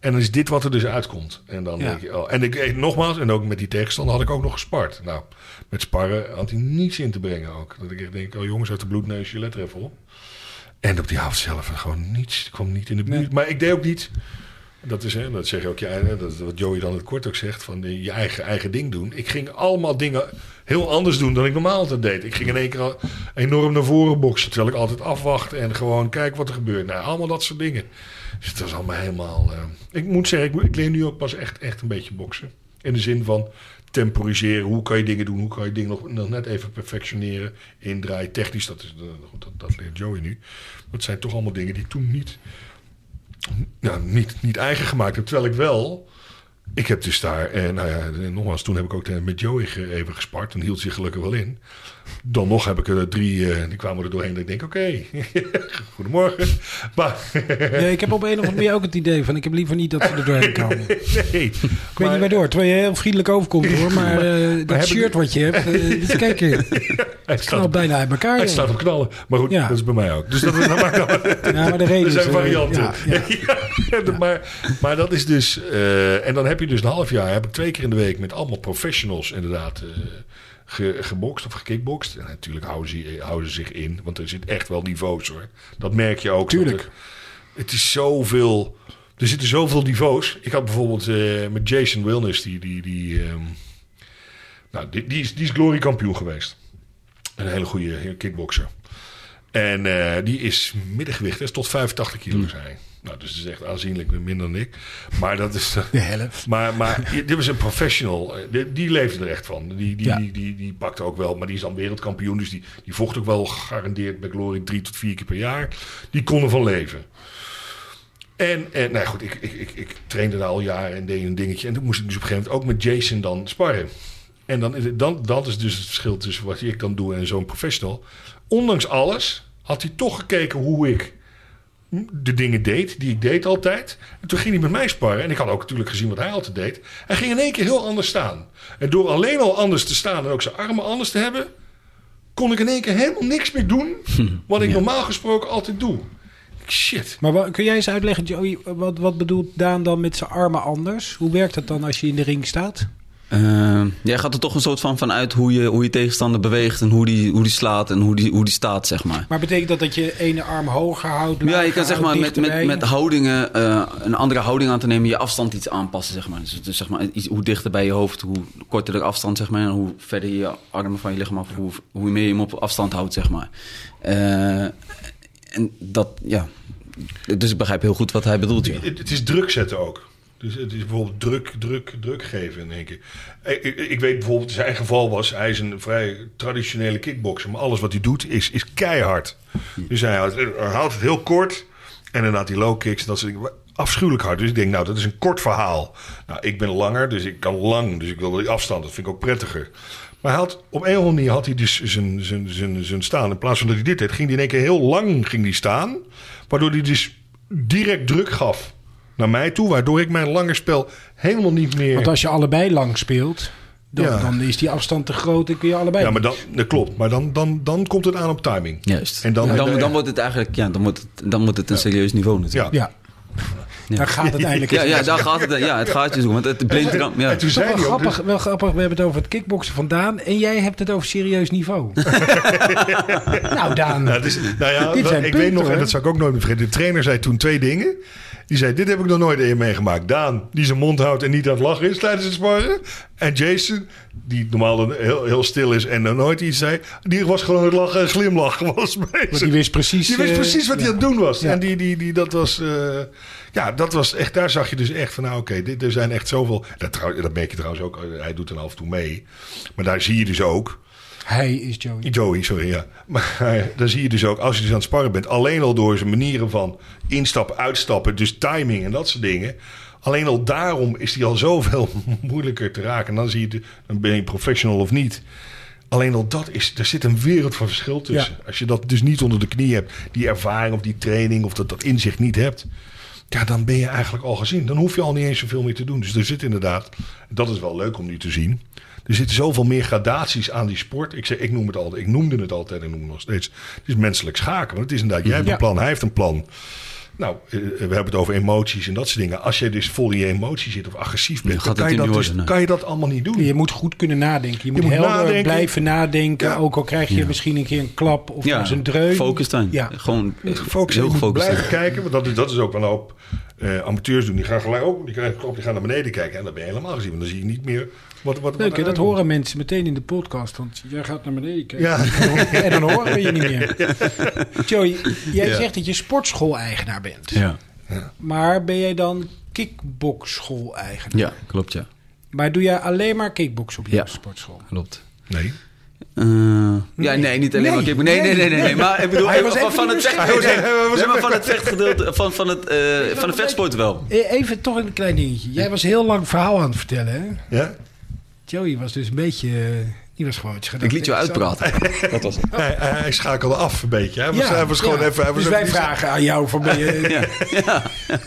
[SPEAKER 4] En dan is dit wat er dus uitkomt. En dan
[SPEAKER 1] Ja.
[SPEAKER 4] denk je, oh, en ik eh, nogmaals, en ook met die tegenstander had ik ook nog gespart. Nou, met sparren had hij niets in te brengen ook. Dat ik echt denk, oh jongens, uit de bloedneusje, let er even op. En op die avond zelf gewoon niets, ik kwam niet in de buurt.
[SPEAKER 1] Nee.
[SPEAKER 4] Maar ik deed ook niet, dat is hè, dat zeg je ook, ja, hè, dat, is wat Joey dan het kort ook zegt, van eh, je eigen, eigen ding doen. Ik ging allemaal dingen heel anders doen dan ik normaal altijd deed. Ik ging in één keer al enorm naar voren boksen, terwijl ik altijd afwacht en gewoon kijk wat er gebeurt. Nou, allemaal dat soort dingen. Dus het was allemaal helemaal... eh, ik moet zeggen, ik, ik leer nu ook pas echt, echt een beetje boksen. In de zin van temporiseren. Hoe kan je dingen doen? Hoe kan je dingen nog, nog net even perfectioneren? Indraaien, technisch. Dat, is, eh, dat, dat, dat leert Joey nu. Dat zijn toch allemaal dingen die ik toen niet, nou, niet, niet eigen gemaakt heb. Terwijl ik wel... Ik heb dus daar, en nou ja, en nogmaals, toen heb ik ook eh, met Joey ge- even gespart. En hield zich gelukkig wel in. Dan nog heb ik er drie, eh, die kwamen er doorheen. Dat ik denk, oké, goedemorgen. Maar,
[SPEAKER 1] Nee, ik heb op een of andere manier ook het idee van... ik heb liever niet dat ze er doorheen komen. Ik
[SPEAKER 4] nee.
[SPEAKER 1] weet niet
[SPEAKER 4] Maar-
[SPEAKER 1] meer door. Terwijl je heel vriendelijk overkomt hoor. Maar eh,
[SPEAKER 4] heb
[SPEAKER 1] dat shirt
[SPEAKER 4] ik-
[SPEAKER 1] wat je hebt... eh, dit- kijk, het
[SPEAKER 4] Hij staat,
[SPEAKER 1] knalt
[SPEAKER 4] op,
[SPEAKER 1] bijna uit elkaar.
[SPEAKER 4] hij
[SPEAKER 1] joh.
[SPEAKER 4] staat op knallen. Maar goed,
[SPEAKER 1] Ja.
[SPEAKER 4] dat is bij mij ook. Dus dat, dat maakt allemaal-
[SPEAKER 1] Ja, maar de reden
[SPEAKER 4] er zijn
[SPEAKER 1] is, eh,
[SPEAKER 4] varianten.
[SPEAKER 1] ja, ja.
[SPEAKER 4] Ja, dat- Maar, maar dat is dus... eh, en dan heb je dus een half jaar... heb ik twee keer in de week met allemaal professionals inderdaad... eh, ge, gebokst of gekickbokst. En natuurlijk houden ze, eh, houden ze zich in. Want er zit echt wel niveaus hoor. Dat merk je ook.
[SPEAKER 1] Tuurlijk.
[SPEAKER 4] Dat er- het is zoveel... Er zitten zoveel niveaus. Ik had bijvoorbeeld eh, met Jason Wilness... die, die, die, ehm, nou, die, die is, die is glory kampioen geweest. Een hele goede eh, kickboxer. En eh, die is middengewicht, is tot 85 kilo
[SPEAKER 1] Hmm.
[SPEAKER 4] zijn. Nou, dus dat is echt aanzienlijk minder dan ik. Maar dat is.
[SPEAKER 1] De helft.
[SPEAKER 4] Maar, maar dit was een professional. Eh, Die, die leefde er echt van. Die, die,
[SPEAKER 1] Ja.
[SPEAKER 4] die, die, die pakte ook wel. Maar die is dan wereldkampioen. Dus die, die vocht ook wel gegarandeerd bij Glory drie tot vier keer per jaar. Die kon ervan leven. En, en nou ja, goed, ik, ik, ik, ik trainde daar al jaren en deed een dingetje. En toen moest ik dus op een gegeven moment ook met Jason dan sparren. En dan, is het- dan, dat is dus het verschil tussen wat ik dan doe en zo'n professional. Ondanks alles had hij toch gekeken hoe ik de dingen deed die ik deed altijd. En toen ging hij met mij sparren. En ik had ook natuurlijk gezien wat hij altijd deed. Hij ging in één keer heel anders staan. En door alleen al anders te staan en ook zijn armen anders te hebben... kon ik in één keer helemaal niks meer doen... wat ik normaal gesproken altijd doe. Shit.
[SPEAKER 1] Maar wa- kun jij eens uitleggen, Joey, wat, wat bedoelt Daan dan met zijn armen anders? Hoe werkt dat dan als je in de ring staat?
[SPEAKER 5] Eh, jij gaat er toch een soort van vanuit hoe je, hoe je tegenstander beweegt en hoe die, hoe die slaat en hoe die, hoe die staat, zeg maar.
[SPEAKER 1] Maar betekent dat dat je ene arm hoger houdt?
[SPEAKER 5] Ja, je
[SPEAKER 1] lager
[SPEAKER 5] kan zeg
[SPEAKER 1] houdt,
[SPEAKER 5] maar met, met,
[SPEAKER 1] dichterbij?
[SPEAKER 5] met houdingen eh, een andere houding aan te nemen, je afstand iets aanpassen, zeg maar. Dus, dus zeg maar iets, hoe dichter bij je hoofd, hoe korter de afstand, zeg maar. En hoe verder je armen van je lichaam af, hoe, hoe meer je hem op afstand houdt, zeg maar. Eh, en dat, ja. Dus ik begrijp heel goed wat hij bedoelt hier.
[SPEAKER 4] Het, het is druk zetten ook. Dus het is bijvoorbeeld druk, druk, druk geven in één keer. Eh, Ik, ik, ik weet bijvoorbeeld, zijn geval was, hij is een vrij traditionele kickboxer. Maar alles wat hij doet is, is keihard. Dus hij houdt, hij houdt het heel kort. En inderdaad die low kicks, dat soort dingen. Afschuwelijk hard. Dus ik denk, nou, dat is een kort verhaal. Nou, ik ben langer, dus ik kan lang. Dus ik wil die afstand, dat vind ik ook prettiger. Maar hij had, op een of andere manier had hij dus zijn, zijn, zijn, zijn staan. In plaats van dat hij dit deed, ging hij in één keer heel lang ging die staan. Waardoor hij dus direct druk gaf naar mij toe. Waardoor ik mijn lange spel helemaal niet meer...
[SPEAKER 1] Want als je allebei lang speelt, dan,
[SPEAKER 4] Ja.
[SPEAKER 1] dan is die afstand te groot en kun je allebei...
[SPEAKER 4] Ja, maar dan, dat klopt. Maar dan, dan, dan komt het aan op timing.
[SPEAKER 5] Juist.
[SPEAKER 4] En dan-
[SPEAKER 5] dan, dan, wordt het eigenlijk, ja, dan wordt het, dan wordt het een serieus niveau natuurlijk.
[SPEAKER 1] Ja. Daar gaat het eigenlijk.
[SPEAKER 5] Ja, ja, daar gaat het, ja, het gaat je zo. Want het blind ram,
[SPEAKER 4] En
[SPEAKER 5] ja.
[SPEAKER 4] toen
[SPEAKER 1] Het is
[SPEAKER 4] zei
[SPEAKER 1] wel
[SPEAKER 4] hij ook...
[SPEAKER 1] grappig,
[SPEAKER 4] dus-
[SPEAKER 1] wel grappig, we hebben het over het kickboksen van Daan en jij hebt het over serieus niveau. nou Daan,
[SPEAKER 4] Nou, dus, nou ja,
[SPEAKER 1] Dit
[SPEAKER 4] wel,
[SPEAKER 1] zijn
[SPEAKER 4] ik
[SPEAKER 1] punten,
[SPEAKER 4] weet nog, en
[SPEAKER 1] hoor.
[SPEAKER 4] dat zou ik ook nooit meer vergeten. De trainer zei toen twee dingen. Die zei, dit heb ik nog nooit eerder meegemaakt. Daan, die zijn mond houdt en niet aan het lachen is tijdens het sparren. En Jason, die normaal dan heel, heel stil is en dan nooit iets zei. Die was gewoon aan het lachen en glimlachen was bezig.
[SPEAKER 1] want die wist precies...
[SPEAKER 4] Je wist
[SPEAKER 1] eh,
[SPEAKER 4] precies wat hij aan het doen was.
[SPEAKER 1] Ja.
[SPEAKER 4] En die, die, die, dat was, eh, ja, dat was echt, daar zag je dus echt van, nou oké, dit er zijn echt zoveel. Dat, trouw- dat merk je trouwens ook, eh, hij doet er af en toe mee. Maar daar zie je dus ook,
[SPEAKER 1] Hij is Joey.
[SPEAKER 4] Joey, sorry, ja. Maar daar zie je dus ook, als je dus aan het sparren bent, alleen al door zijn manieren van instappen, uitstappen, dus timing en dat soort dingen. Alleen al daarom is hij al zoveel moeilijker te raken. En dan zie je, de- dan ben je professional of niet. Alleen al dat is, er zit een wereld van verschil tussen. Als je dat dus niet onder de knie hebt, die ervaring of die training of dat, dat inzicht niet hebt. Ja, dan ben je eigenlijk al gezien. Dan hoef je al niet eens zoveel meer te doen. Dus er zit inderdaad, dat is wel leuk om nu te zien. Er zitten zoveel meer gradaties aan die sport. Ik, zeg, ik, noem het altijd, ik noemde het altijd en noem het nog steeds. Het is menselijk schaken. Want het is inderdaad, jij hebt een
[SPEAKER 1] Ja.
[SPEAKER 4] plan, hij heeft een plan. Nou, eh, we hebben het over emoties en dat soort dingen. Als je dus vol in je emotie zit of agressief bent,
[SPEAKER 5] gaat
[SPEAKER 4] dan kan
[SPEAKER 5] het
[SPEAKER 4] je,
[SPEAKER 5] niet
[SPEAKER 4] dat dus-
[SPEAKER 5] worden, nee.
[SPEAKER 4] kan je dat allemaal niet doen.
[SPEAKER 1] Je moet goed kunnen nadenken. Je moet,
[SPEAKER 4] moet
[SPEAKER 1] helder
[SPEAKER 4] nadenken.
[SPEAKER 1] blijven nadenken.
[SPEAKER 4] Ja.
[SPEAKER 1] Ook al krijg je misschien een keer een klap of
[SPEAKER 5] Ja,
[SPEAKER 1] eens een dreun.
[SPEAKER 5] focus dan.
[SPEAKER 1] Ja.
[SPEAKER 5] Gewoon eh,
[SPEAKER 4] gefocust.
[SPEAKER 5] heel
[SPEAKER 4] Je moet
[SPEAKER 5] gefocust
[SPEAKER 4] blijven
[SPEAKER 5] zijn.
[SPEAKER 4] kijken. Want dat is, dat is ook wel een hoop eh, amateurs doen. Die gaan gelijk ook. Die, krijgen klap, die gaan naar beneden kijken. En dan ben je helemaal gezien. Want dan zie je niet meer wat... wat
[SPEAKER 1] Leuk hè,
[SPEAKER 4] wat
[SPEAKER 1] dat
[SPEAKER 4] eruit
[SPEAKER 1] horen mensen meteen in de podcast. Want jij gaat naar beneden
[SPEAKER 4] komt.
[SPEAKER 1] kijken.
[SPEAKER 4] Ja,
[SPEAKER 1] En dan horen we je niet meer. Joey, jij zegt dat je sportschool-eigenaar bent.
[SPEAKER 5] Ja.
[SPEAKER 1] Maar ben jij dan kickboxschool-eigenaar?
[SPEAKER 5] ja, klopt ja.
[SPEAKER 1] Maar doe jij alleen maar kickboksen op je
[SPEAKER 5] Ja.
[SPEAKER 1] sportschool?
[SPEAKER 5] Klopt.
[SPEAKER 4] Nee.
[SPEAKER 5] Eh, Ja, nee, niet alleen
[SPEAKER 1] Nee.
[SPEAKER 5] maar kickboxen. Nee, nee, nee, nee, nee. Maar ik bedoel, eh,
[SPEAKER 1] Hij was
[SPEAKER 5] van,
[SPEAKER 1] even
[SPEAKER 5] van
[SPEAKER 1] niet
[SPEAKER 5] het
[SPEAKER 4] beschikbaar.
[SPEAKER 5] vechtgedeelte,
[SPEAKER 4] Hij was even- hij was
[SPEAKER 5] nee, maar
[SPEAKER 4] even-
[SPEAKER 5] van het vechtgedeelte, van, van het, eh van de vechtsport wel.
[SPEAKER 1] Eh, Even toch een klein dingetje. Jij was heel lang verhaal aan het vertellen. Hè?
[SPEAKER 4] Ja?
[SPEAKER 1] Joey was dus een beetje... eh, Die was gewoon...
[SPEAKER 5] Ik liet je uitpraten. Dat was het.
[SPEAKER 4] Hij, hij- hij schakelde af een beetje. Hij was, hij was gewoon even... Hij was
[SPEAKER 1] dus
[SPEAKER 4] even
[SPEAKER 1] wij
[SPEAKER 4] niet-
[SPEAKER 1] vragen aan jou van ben je...
[SPEAKER 5] Ja.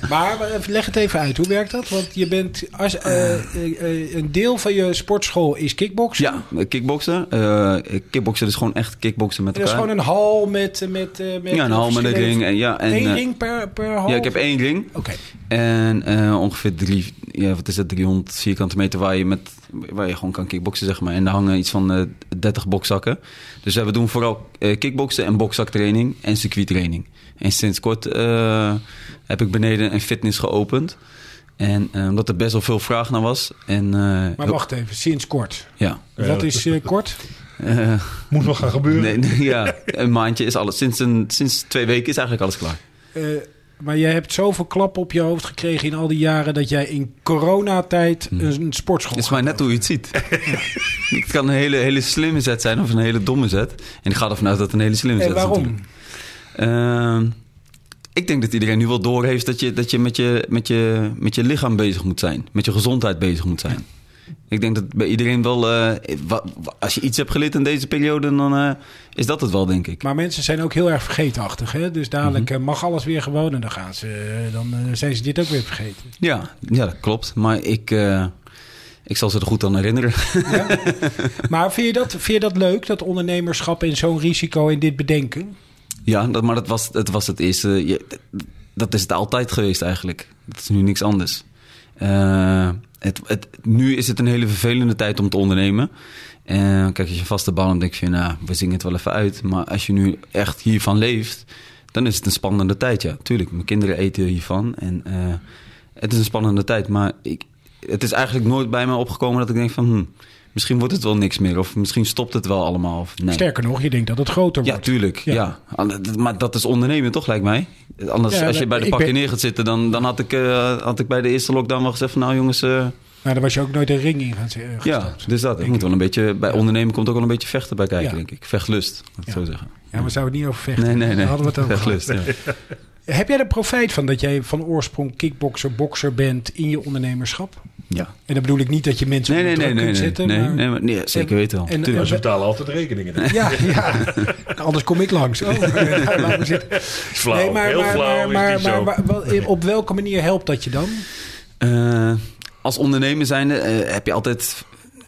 [SPEAKER 1] Maar maar even- leg het even uit. Hoe werkt dat? Want je bent... Als, eh, eh, eh, een deel van je sportschool is kickboksen.
[SPEAKER 5] Ja, kickboksen. Eh kickboksen is gewoon echt kickboksen met
[SPEAKER 1] Dat is
[SPEAKER 5] elkaar.
[SPEAKER 1] gewoon een hal met... eh, met, eh, met
[SPEAKER 5] ja, een hal met een
[SPEAKER 1] verschillende-
[SPEAKER 5] ring. En, ja, en,
[SPEAKER 1] Eén
[SPEAKER 5] eh,
[SPEAKER 1] ring per, per hal?
[SPEAKER 5] Ja, ik heb één ring.
[SPEAKER 1] Oké.
[SPEAKER 5] En eh, ongeveer drie, ja, wat is dat, 300 vierkante meter waar je, met, waar je gewoon kan kickboksen, zeg maar. En daar hangen iets van eh 30 bokzakken. Dus eh, we doen vooral eh kickboksen en bokzaktraining en circuittraining. En sinds kort eh, heb ik beneden een fitness geopend. En eh, omdat er best wel veel vraag naar was. En, eh,
[SPEAKER 1] Maar wacht even. Sinds kort.
[SPEAKER 5] Ja.
[SPEAKER 1] Wat is eh, kort?
[SPEAKER 5] Eh,
[SPEAKER 4] Moet nog gaan gebeuren.
[SPEAKER 5] nee, nee, ja, een maandje is alles. Sinds, een, sinds twee weken is eigenlijk alles klaar.
[SPEAKER 1] Eh, maar jij hebt zoveel klap op je hoofd gekregen in al die jaren... dat jij in coronatijd een sportschool...
[SPEAKER 5] Het Hm. is maar net hoe je het ziet. Het kan een hele, hele slimme zet zijn of een hele domme zet. En ik ga ervan uit dat het een hele slimme
[SPEAKER 1] En
[SPEAKER 5] zet is.
[SPEAKER 1] waarom?
[SPEAKER 5] natuurlijk. Ehm, ik denk dat iedereen nu wel doorheeft dat je, dat je, met, je, met, je met je lichaam bezig moet zijn. Met je gezondheid bezig moet zijn. Ik denk dat bij iedereen wel... eh, wa- wa- als je iets hebt geleerd in deze periode, dan eh, is dat het wel, denk ik.
[SPEAKER 1] Maar mensen zijn ook heel erg vergeetachtig. Hè? Dus dadelijk
[SPEAKER 5] Mhm.
[SPEAKER 1] eh, mag alles weer gewoon en dan, gaan ze, eh, dan eh, zijn ze dit ook weer vergeten.
[SPEAKER 5] Ja, ja dat klopt. Maar ik, eh, ik zal ze er goed aan herinneren.
[SPEAKER 1] Maar vind je dat, vind je dat leuk, dat ondernemerschap en zo'n risico en dit bedenken?
[SPEAKER 5] Ja, dat, maar dat was, het was het eerste. Je- dat is het altijd geweest eigenlijk. Dat is nu niks anders. Eh, het, het, nu is het een hele vervelende tijd om te ondernemen. En kijk, als je vaste baan hebt, denk je, nou, we zingen het wel even uit. Maar als je nu echt hiervan leeft, dan is het een spannende tijd. Ja, tuurlijk. Mijn kinderen eten hiervan. En eh, het is een spannende tijd. Maar ik, het is eigenlijk nooit bij me opgekomen dat ik denk van, hm, misschien wordt het wel niks meer. Of misschien stopt het wel allemaal. Of, nee.
[SPEAKER 1] Sterker nog, je denkt dat het groter
[SPEAKER 5] Ja,
[SPEAKER 1] wordt.
[SPEAKER 5] tuurlijk.
[SPEAKER 1] Ja.
[SPEAKER 5] Ja. Ander- dat- Maar dat is ondernemen toch, lijkt mij. Anders,
[SPEAKER 1] Ja,
[SPEAKER 5] als je
[SPEAKER 1] maar
[SPEAKER 5] bij de
[SPEAKER 1] ik
[SPEAKER 5] pakken
[SPEAKER 1] ben-
[SPEAKER 5] neer gaat zitten, dan, dan had, ik, eh, had ik bij de eerste lockdown wel gezegd van... Nou jongens, eh,
[SPEAKER 1] Maar dan was je ook nooit een ring in gaan z- eh,
[SPEAKER 5] ja,
[SPEAKER 1] gestapt.
[SPEAKER 5] dus dat. Ik moet wel een beetje, bij ondernemen komt ook wel een beetje vechten bij kijken,
[SPEAKER 1] Ja.
[SPEAKER 5] denk ik. Vechtlust, moet ik
[SPEAKER 1] Ja.
[SPEAKER 5] zo zeggen.
[SPEAKER 1] Ja, we zouden het niet over vechten.
[SPEAKER 5] Nee, nee, nee.
[SPEAKER 1] Daar hadden we het over
[SPEAKER 5] Vechtlust, ja.
[SPEAKER 1] gehad. Heb jij er profijt van dat jij van oorsprong kickbokser, bokser bent in je ondernemerschap?
[SPEAKER 5] ja.
[SPEAKER 1] En dan bedoel ik niet dat je mensen
[SPEAKER 5] Nee, nee,
[SPEAKER 1] onder
[SPEAKER 5] nee,
[SPEAKER 1] druk
[SPEAKER 5] nee,
[SPEAKER 1] kunt zetten.
[SPEAKER 5] nee, nee,
[SPEAKER 1] maar-
[SPEAKER 5] nee, maar- nee, zeker weten wel.
[SPEAKER 1] en-
[SPEAKER 5] Tuurlijk.
[SPEAKER 4] Ze betalen altijd rekeningen. Dat
[SPEAKER 1] Ja, ja. Anders kom ik langs. Oh, laat me zitten.
[SPEAKER 4] is flauw. Heel flauw is
[SPEAKER 1] maar,
[SPEAKER 4] niet zo.
[SPEAKER 1] maar wel- op welke manier helpt dat je dan?
[SPEAKER 5] Eh, als ondernemer zijnde eh, heb je altijd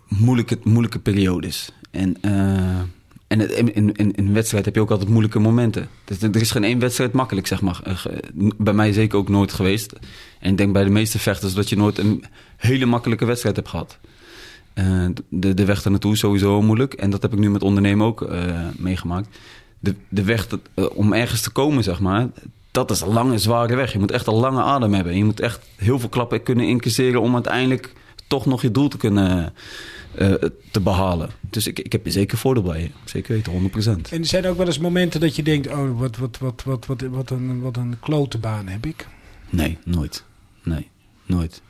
[SPEAKER 5] moeilijke, moeilijke periodes. En, eh, en het- in, in, in een wedstrijd heb je ook altijd moeilijke momenten. Dus er er is geen één wedstrijd makkelijk, zeg maar. Eh, ge- Bij mij zeker ook nooit geweest. En ik denk bij de meeste vechters dat je nooit een hele makkelijke wedstrijd hebt gehad. Eh, de, de weg daar naartoe is sowieso moeilijk. En dat heb ik nu met ondernemen ook eh, meegemaakt. De, de weg dat, eh, om ergens te komen, zeg maar, dat is een lange, zware weg. Je moet echt een lange adem hebben. Je moet echt heel veel klappen kunnen incasseren om uiteindelijk toch nog je doel te kunnen eh, te behalen. Dus ik, ik heb er zeker voordeel bij je. Zeker weten, 100%.
[SPEAKER 1] En er zijn ook wel eens momenten dat je denkt... oh, wat, wat, wat, wat, wat, wat, een, wat een klote baan heb ik.
[SPEAKER 5] Nee, nooit. Nee, nooit.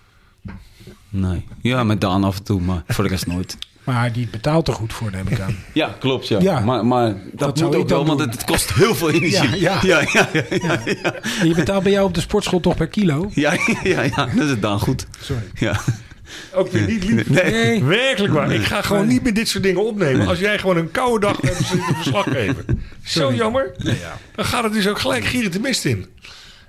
[SPEAKER 5] Nee. Ja, met Daan af en toe, maar voor de rest nooit.
[SPEAKER 1] Maar die betaalt er goed voor, neem ik aan.
[SPEAKER 5] Ja, klopt. Ja.
[SPEAKER 1] Ja.
[SPEAKER 5] Maar, maar
[SPEAKER 1] Dat
[SPEAKER 5] dat,
[SPEAKER 1] zou
[SPEAKER 5] moet
[SPEAKER 1] ik
[SPEAKER 5] ook wel,
[SPEAKER 1] dan
[SPEAKER 5] want
[SPEAKER 1] doen.
[SPEAKER 5] het, het kost heel veel energie.
[SPEAKER 1] Ja,
[SPEAKER 5] ja, ja. ja, ja,
[SPEAKER 1] En je betaalt bij jou op de sportschool toch per kilo?
[SPEAKER 5] ja, ja, ja. dat is het dan goed.
[SPEAKER 1] Sorry.
[SPEAKER 5] Ja.
[SPEAKER 4] Ook weer niet lief.
[SPEAKER 1] Nee.
[SPEAKER 4] Werkelijk waar. Ik ga gewoon niet meer dit soort dingen opnemen. Als jij gewoon een koude dag hebt, zul je een verslag geven. Zo jammer. Dan gaat het dus ook gelijk gierend de mist in.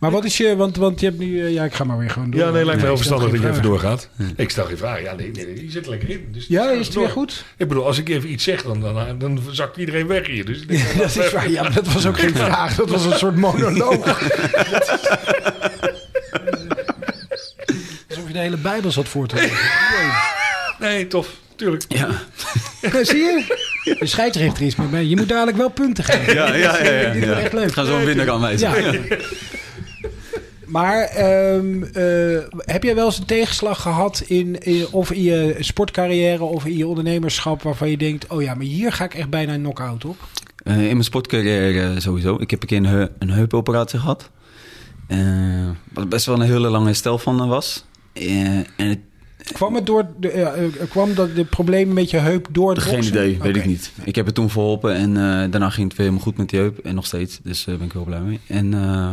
[SPEAKER 1] Maar wat is je... Want, want je hebt nu... eh, ja, ik ga maar weer gewoon door.
[SPEAKER 4] Ja, nee, lijkt me heel
[SPEAKER 1] Ik stel
[SPEAKER 4] verstandig dat je
[SPEAKER 1] geen
[SPEAKER 4] even
[SPEAKER 1] vragen.
[SPEAKER 4] doorgaat. Ik stel geen vraag. Ja, nee, nee, nee, je zit er lekker in. Dus
[SPEAKER 1] Ja,
[SPEAKER 4] ik
[SPEAKER 1] is het
[SPEAKER 4] door.
[SPEAKER 1] weer goed?
[SPEAKER 4] Ik bedoel, als ik even iets zeg, dan, dan, dan zakt iedereen weg hier. Dus ik denk, laat
[SPEAKER 1] Dat is
[SPEAKER 4] even-
[SPEAKER 1] waar. Ja, maar dat was ook geen vraag. Dat was een soort monoloog. Alsof je de hele Bijbel zat voor te lezen.
[SPEAKER 4] Nee, tof. Tuurlijk.
[SPEAKER 5] Ja.
[SPEAKER 1] Nee, Eh, zie je? De scheidsrechter is met mij. Je moet dadelijk wel punten geven.
[SPEAKER 5] Ja, ja, ja. ja,
[SPEAKER 1] Dit is echt leuk.
[SPEAKER 5] Ik ga zo'n winnaar aanwijzen.
[SPEAKER 1] Ja. Maar ehm, eh, heb jij wel eens een tegenslag gehad in, in- of in je sportcarrière of in je ondernemerschap waarvan je denkt, oh ja, maar hier ga ik echt bijna een knock-out op?
[SPEAKER 5] Eh, in mijn sportcarrière sowieso. Ik heb een keer een, heu- een heupoperatie gehad. Eh, wat best wel een hele lange herstel van was. Eh, en het,
[SPEAKER 1] Kwam het door de, eh, eh, kwam dat de probleem met je heup door het
[SPEAKER 5] Geen
[SPEAKER 1] boksen?
[SPEAKER 5] idee, weet ik
[SPEAKER 1] Oké.
[SPEAKER 5] niet. Ik heb het toen verholpen en eh, daarna ging het weer helemaal goed met die heup. En nog steeds, dus daar ben ik heel blij mee. En, eh,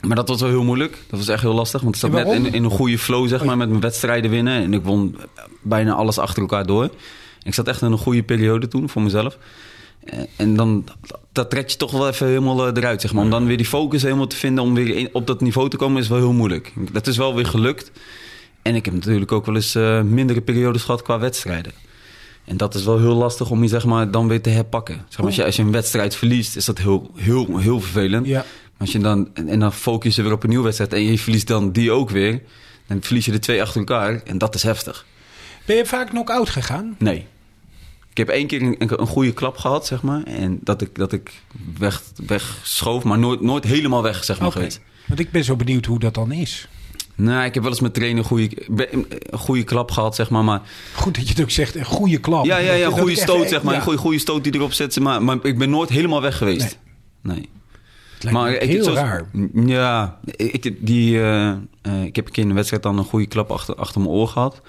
[SPEAKER 5] maar dat was wel heel moeilijk. Dat was echt heel lastig, want ik zat
[SPEAKER 1] En
[SPEAKER 5] net
[SPEAKER 1] waarom? Oh,
[SPEAKER 5] in, in een goede flow zeg maar, met mijn wedstrijden winnen. En ik won bijna alles achter elkaar door. Ik zat echt in een goede periode toen voor mezelf. Eh, En dan dat trek je toch wel even helemaal eh, eruit, zeg maar. Om dan weer die focus helemaal te vinden, om weer in- op dat niveau te komen, is wel heel moeilijk. Dat is wel weer gelukt. En ik heb natuurlijk ook wel eens eh, mindere periodes gehad qua wedstrijden. En dat is wel heel lastig om je zeg maar, dan weer te herpakken. Zeg maar, als, je, als je een wedstrijd verliest, is dat heel, heel, heel vervelend.
[SPEAKER 1] Ja.
[SPEAKER 5] Als je dan, en en dan focus je weer op een nieuwe wedstrijd en je verliest dan die ook weer. Dan verlies je de twee achter elkaar en dat is heftig.
[SPEAKER 1] Ben je vaak knock-out gegaan?
[SPEAKER 5] Nee. Ik heb één keer een, een, een goede klap gehad, zeg maar. En dat ik, dat ik weg, wegschoof, maar nooit, nooit helemaal weg, zeg maar.
[SPEAKER 1] Oké.
[SPEAKER 5] geweest.
[SPEAKER 1] Want ik ben zo benieuwd hoe dat dan is.
[SPEAKER 5] Nou, ik heb wel eens met trainen een goede, een goede klap gehad, zeg maar. maar
[SPEAKER 1] Goed dat je het ook zegt, een goede klap.
[SPEAKER 5] ja, ja,
[SPEAKER 1] Dat-
[SPEAKER 5] ja, een
[SPEAKER 1] dat
[SPEAKER 5] goede
[SPEAKER 1] ik echt-
[SPEAKER 5] stoot, zeg maar.
[SPEAKER 1] ja,
[SPEAKER 5] Een goede, goede stoot die erop zet, maar, maar ik ben nooit helemaal weg geweest. Nee.
[SPEAKER 1] het lijkt me heel
[SPEAKER 5] zoals-
[SPEAKER 1] raar.
[SPEAKER 5] M, Ja, ik, die, eh, eh, ik heb een keer in de wedstrijd dan een goede klap achter, achter mijn oor gehad.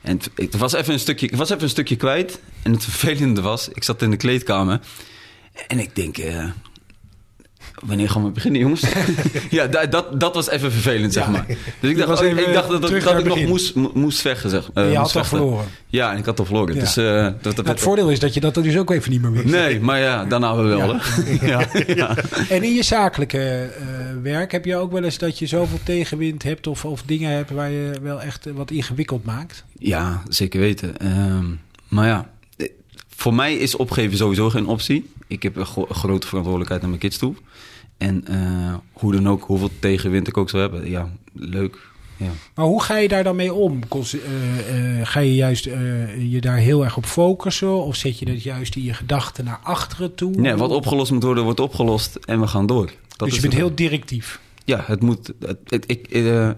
[SPEAKER 5] En het, ik, was even een stukje, ik was even een stukje kwijt. En het vervelende was, ik zat in de kleedkamer. En ik denk, eh, wanneer gaan we beginnen, jongens? ja, da- dat, dat was even vervelend, zeg maar. Dus ik dacht,
[SPEAKER 1] was
[SPEAKER 5] oh,
[SPEAKER 1] even
[SPEAKER 5] ik dacht dat,
[SPEAKER 1] terug
[SPEAKER 5] dat,
[SPEAKER 1] naar
[SPEAKER 5] ik nog
[SPEAKER 1] begin.
[SPEAKER 5] moest, mo- moest vechten, zeg. eh,
[SPEAKER 1] En je
[SPEAKER 5] moest
[SPEAKER 1] had al
[SPEAKER 5] vechten.
[SPEAKER 1] verloren.
[SPEAKER 5] Ja, en ik had al verloren.
[SPEAKER 1] Ja.
[SPEAKER 5] Dus, eh, dat, dat,
[SPEAKER 1] Nou, het voordeel is dat je dat er dus ook even niet meer wist.
[SPEAKER 5] Nee, maar ja, daarna wel.
[SPEAKER 1] Ja.
[SPEAKER 5] hè? Ja. ja.
[SPEAKER 1] En in je zakelijke eh, werk heb je ook wel eens dat je zoveel tegenwind hebt of, of dingen hebt waar je wel echt eh, wat ingewikkeld maakt?
[SPEAKER 5] Ja, zeker weten. Ehm, maar ja, eh, voor mij is opgeven sowieso geen optie. Ik heb een gro- grote verantwoordelijkheid naar mijn kids toe. En eh, hoe dan ook, hoeveel tegenwind ik ook zou hebben. Ja, leuk. Ja.
[SPEAKER 1] Maar hoe ga je daar dan mee om? Cons- eh, eh, ga je juist eh, je daar heel erg op focussen? Of zet je dat juist in je gedachten naar achteren toe?
[SPEAKER 5] Nee, wat opgelost moet worden, wordt opgelost. En we gaan door. Dat
[SPEAKER 1] dus je
[SPEAKER 5] is
[SPEAKER 1] bent
[SPEAKER 5] het.
[SPEAKER 1] heel directief.
[SPEAKER 5] Ja, het moet. Het, het- ik, eh,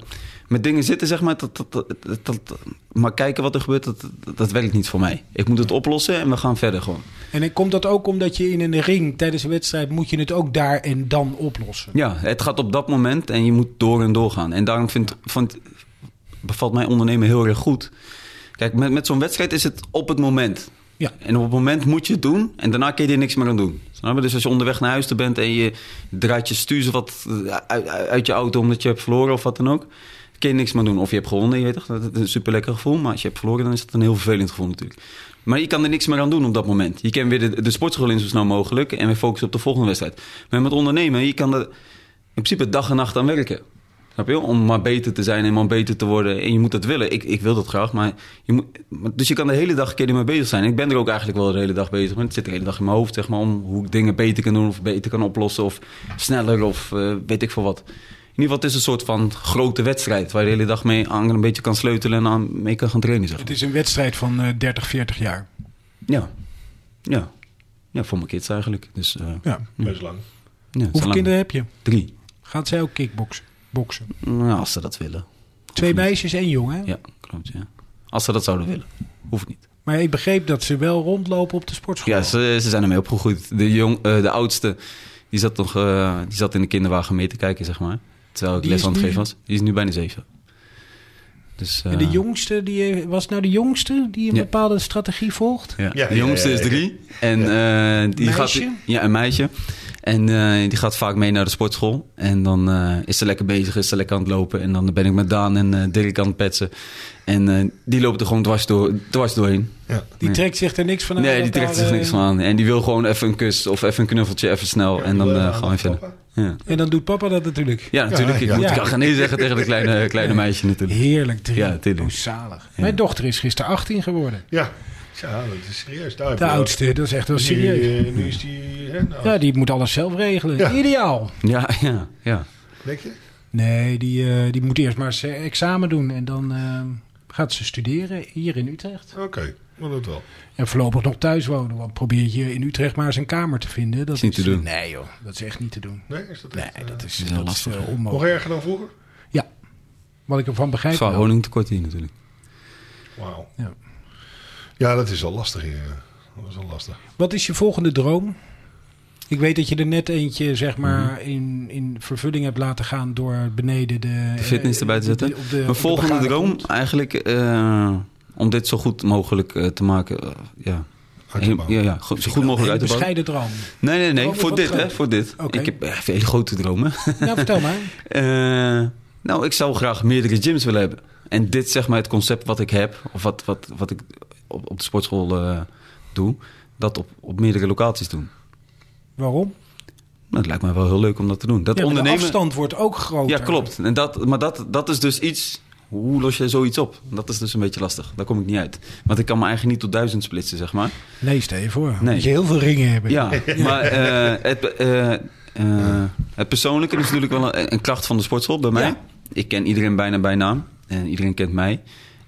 [SPEAKER 5] met dingen zitten, zeg maar. Dat, dat, dat, dat- maar kijken wat er gebeurt, dat, dat, dat werkt niet voor mij. Ik moet het oplossen en we gaan verder gewoon.
[SPEAKER 1] En dan komt dat ook omdat je in een ring tijdens een wedstrijd moet je het ook daar en dan oplossen?
[SPEAKER 5] Ja, het gaat op dat moment en je moet door en door gaan. En daarom vind, vond- bevalt mijn ondernemen heel erg goed. Kijk, met, met zo'n wedstrijd is het op het moment.
[SPEAKER 1] Ja.
[SPEAKER 5] En op het moment moet je het doen en daarna kun je er niks meer aan doen. Snap je? Dus als je onderweg naar huis toe bent en je draait je stuurzen wat eh, uit, uit je auto omdat je hebt verloren of wat dan ook, kun je niks meer doen. Of je hebt gewonnen, je weet toch, dat is een super lekker gevoel. Maar als je hebt verloren, dan is dat een heel vervelend gevoel natuurlijk. Maar je kan er niks meer aan doen op dat moment. Je kan weer de, de sportschool in zo snel mogelijk en weer focussen op de volgende wedstrijd. Maar met ondernemen, je kan er in principe dag en nacht aan werken. Snap je? Om maar beter te zijn en maar beter te worden. En je moet dat willen. Ik, ik wil dat graag. Maar je moet, maar- dus je kan de hele dag een keer ermee bezig zijn. En ik ben er ook eigenlijk wel de hele dag bezig. Maar het zit de hele dag in mijn hoofd, zeg maar. Om hoe ik dingen beter kan doen of beter kan oplossen. Of sneller of eh, weet ik veel wat. In ieder geval, het is een soort van grote wedstrijd. Waar je de hele dag mee aan een beetje kan sleutelen en aan mee kan gaan trainen, zeg maar.
[SPEAKER 1] Het is een wedstrijd van eh, 30, 40 jaar.
[SPEAKER 5] Ja. Ja. Ja, voor mijn kids eigenlijk. Dus, eh, ja, het
[SPEAKER 1] Ja.
[SPEAKER 4] Best lang.
[SPEAKER 5] is
[SPEAKER 1] Hoeveel
[SPEAKER 5] lang.
[SPEAKER 1] kinderen heb je?
[SPEAKER 5] Drie.
[SPEAKER 1] Gaat zij ook kickboksen? Boksen?
[SPEAKER 5] Nou, als ze dat willen.
[SPEAKER 1] Twee
[SPEAKER 5] niet.
[SPEAKER 1] meisjes, één jongen. hè?
[SPEAKER 5] Ja, klopt, ja. Als ze dat zouden willen. Hoeft niet.
[SPEAKER 1] Maar ik begreep dat ze wel rondlopen op de sportschool.
[SPEAKER 5] Ja, ze, ze zijn ermee opgegroeid. De, jong, eh, de oudste, die zat, nog, eh, die zat in de kinderwagen mee te kijken, zeg maar. Terwijl ik
[SPEAKER 1] Die
[SPEAKER 5] les
[SPEAKER 1] is
[SPEAKER 5] aan het
[SPEAKER 1] nu-
[SPEAKER 5] geven was. Die is nu bijna zeven. Dus, eh,
[SPEAKER 1] En de jongste, die, was nou de jongste die een
[SPEAKER 5] Ja.
[SPEAKER 1] bepaalde strategie volgt?
[SPEAKER 5] Ja.
[SPEAKER 4] Ja,
[SPEAKER 5] de jongste
[SPEAKER 4] ja, ja, ja.
[SPEAKER 5] is drie. En eh, die
[SPEAKER 1] Meisje?
[SPEAKER 5] gaat. Ja, een meisje. En eh, die gaat vaak mee naar de sportschool. En dan eh, is ze lekker bezig, is ze lekker aan het lopen. En dan ben ik met Daan en eh, Dirk aan het petsen. En eh, die loopt er gewoon dwars, door, dwars doorheen.
[SPEAKER 4] Ja.
[SPEAKER 1] Die
[SPEAKER 5] Nee.
[SPEAKER 1] trekt zich er niks van aan.
[SPEAKER 5] nee,
[SPEAKER 1] dat
[SPEAKER 5] die trekt
[SPEAKER 1] daar,
[SPEAKER 5] zich niks
[SPEAKER 1] eh,
[SPEAKER 5] van aan. En die wil gewoon even een kus of even een knuffeltje, even snel. en dan eh, gaan we verder. Ja.
[SPEAKER 1] En dan doet papa dat natuurlijk.
[SPEAKER 5] Ja, natuurlijk. Ik
[SPEAKER 4] ja.
[SPEAKER 5] moet
[SPEAKER 1] Ja.
[SPEAKER 5] ik kan geen nee zeggen tegen de kleine, kleine meisje natuurlijk.
[SPEAKER 1] Heerlijk, drie.
[SPEAKER 5] Ja, tuurlijk.
[SPEAKER 1] Oh, zalig. Mijn dochter is gisteren 18 geworden.
[SPEAKER 4] Ja. ja, dat is serieus. Daar heb
[SPEAKER 1] De
[SPEAKER 4] je wel-
[SPEAKER 1] oudste, dat is echt wel
[SPEAKER 4] Nu,
[SPEAKER 1] serieus.
[SPEAKER 4] eh, nu is die... Hè, nou,
[SPEAKER 1] Ja, die moet alles zelf regelen.
[SPEAKER 4] Ja.
[SPEAKER 1] Ideaal.
[SPEAKER 5] Ja, ja, ja.
[SPEAKER 4] Denk je?
[SPEAKER 1] Nee, die, eh, die moet eerst maar zijn examen doen en dan eh, gaat ze studeren hier in Utrecht.
[SPEAKER 4] Oké, maar dat wel.
[SPEAKER 1] En voorlopig nog thuis wonen, want probeer je in Utrecht maar eens een kamer te vinden. Dat
[SPEAKER 5] Is niet te doen.
[SPEAKER 1] Nee joh, dat is echt niet te doen.
[SPEAKER 4] Nee, is dat echt,
[SPEAKER 1] Nee,
[SPEAKER 4] eh,
[SPEAKER 1] dat is,
[SPEAKER 5] is heel
[SPEAKER 1] dat is
[SPEAKER 5] lastig.
[SPEAKER 1] eh,
[SPEAKER 4] Nog
[SPEAKER 1] onmogelijk.
[SPEAKER 4] erger dan vroeger?
[SPEAKER 1] Ja, wat ik ervan begrijp.
[SPEAKER 5] Zwaar
[SPEAKER 1] wel.
[SPEAKER 5] honingtekort hier natuurlijk.
[SPEAKER 4] Wauw.
[SPEAKER 1] Ja.
[SPEAKER 4] Ja, dat is al lastig. eh, Dat is al lastig.
[SPEAKER 1] Wat is je volgende droom? Ik weet dat je er net eentje zeg maar,
[SPEAKER 5] Mhm.
[SPEAKER 1] in, in vervulling hebt laten gaan door beneden de,
[SPEAKER 5] de
[SPEAKER 1] eh,
[SPEAKER 5] fitness erbij te
[SPEAKER 1] op de- op
[SPEAKER 5] zetten.
[SPEAKER 1] de- op
[SPEAKER 5] Mijn
[SPEAKER 1] de
[SPEAKER 5] volgende
[SPEAKER 1] begane
[SPEAKER 5] droom
[SPEAKER 1] grond.
[SPEAKER 5] eigenlijk eh, om dit zo goed mogelijk eh, te maken. eh, ja.
[SPEAKER 4] Uit te bouwen.
[SPEAKER 5] ja, ja, goed- zo goed mogelijk uit
[SPEAKER 1] Een
[SPEAKER 5] te bouwen.
[SPEAKER 1] bescheiden droom.
[SPEAKER 5] Nee, nee, nee.
[SPEAKER 1] Droom is
[SPEAKER 5] Voor
[SPEAKER 1] Oh, wat
[SPEAKER 5] dit, hè.
[SPEAKER 1] groot.
[SPEAKER 5] Voor dit.
[SPEAKER 1] Oké.
[SPEAKER 5] Ik heb echt hele grote dromen.
[SPEAKER 1] Nou, vertel maar.
[SPEAKER 5] Eh, nou, ik zou graag meerdere gyms willen hebben. En dit is zeg maar het concept wat ik heb, of wat, wat, wat ik op, op de sportschool eh, doe, dat op, op meerdere locaties doen.
[SPEAKER 1] Waarom?
[SPEAKER 5] Nou, dat lijkt mij wel heel leuk om dat te doen. Dat
[SPEAKER 1] Ja, maar
[SPEAKER 5] ondernemen.
[SPEAKER 1] De afstand wordt ook groter.
[SPEAKER 5] ja, klopt. En dat, maar dat, dat is dus iets. Hoe los je zoiets op? Dat is dus een beetje lastig. Daar kom ik niet uit. Want ik kan me eigenlijk niet tot duizend splitsen, zeg maar.
[SPEAKER 1] Nee, stel je voor.
[SPEAKER 5] Nee.
[SPEAKER 1] Moet je heel veel ringen hebben.
[SPEAKER 5] Ja, maar eh, het, eh, eh, het persoonlijke is natuurlijk wel een, een klacht van de sportschool bij mij.
[SPEAKER 1] Ja.
[SPEAKER 5] Ik ken iedereen bijna bij naam en iedereen kent mij.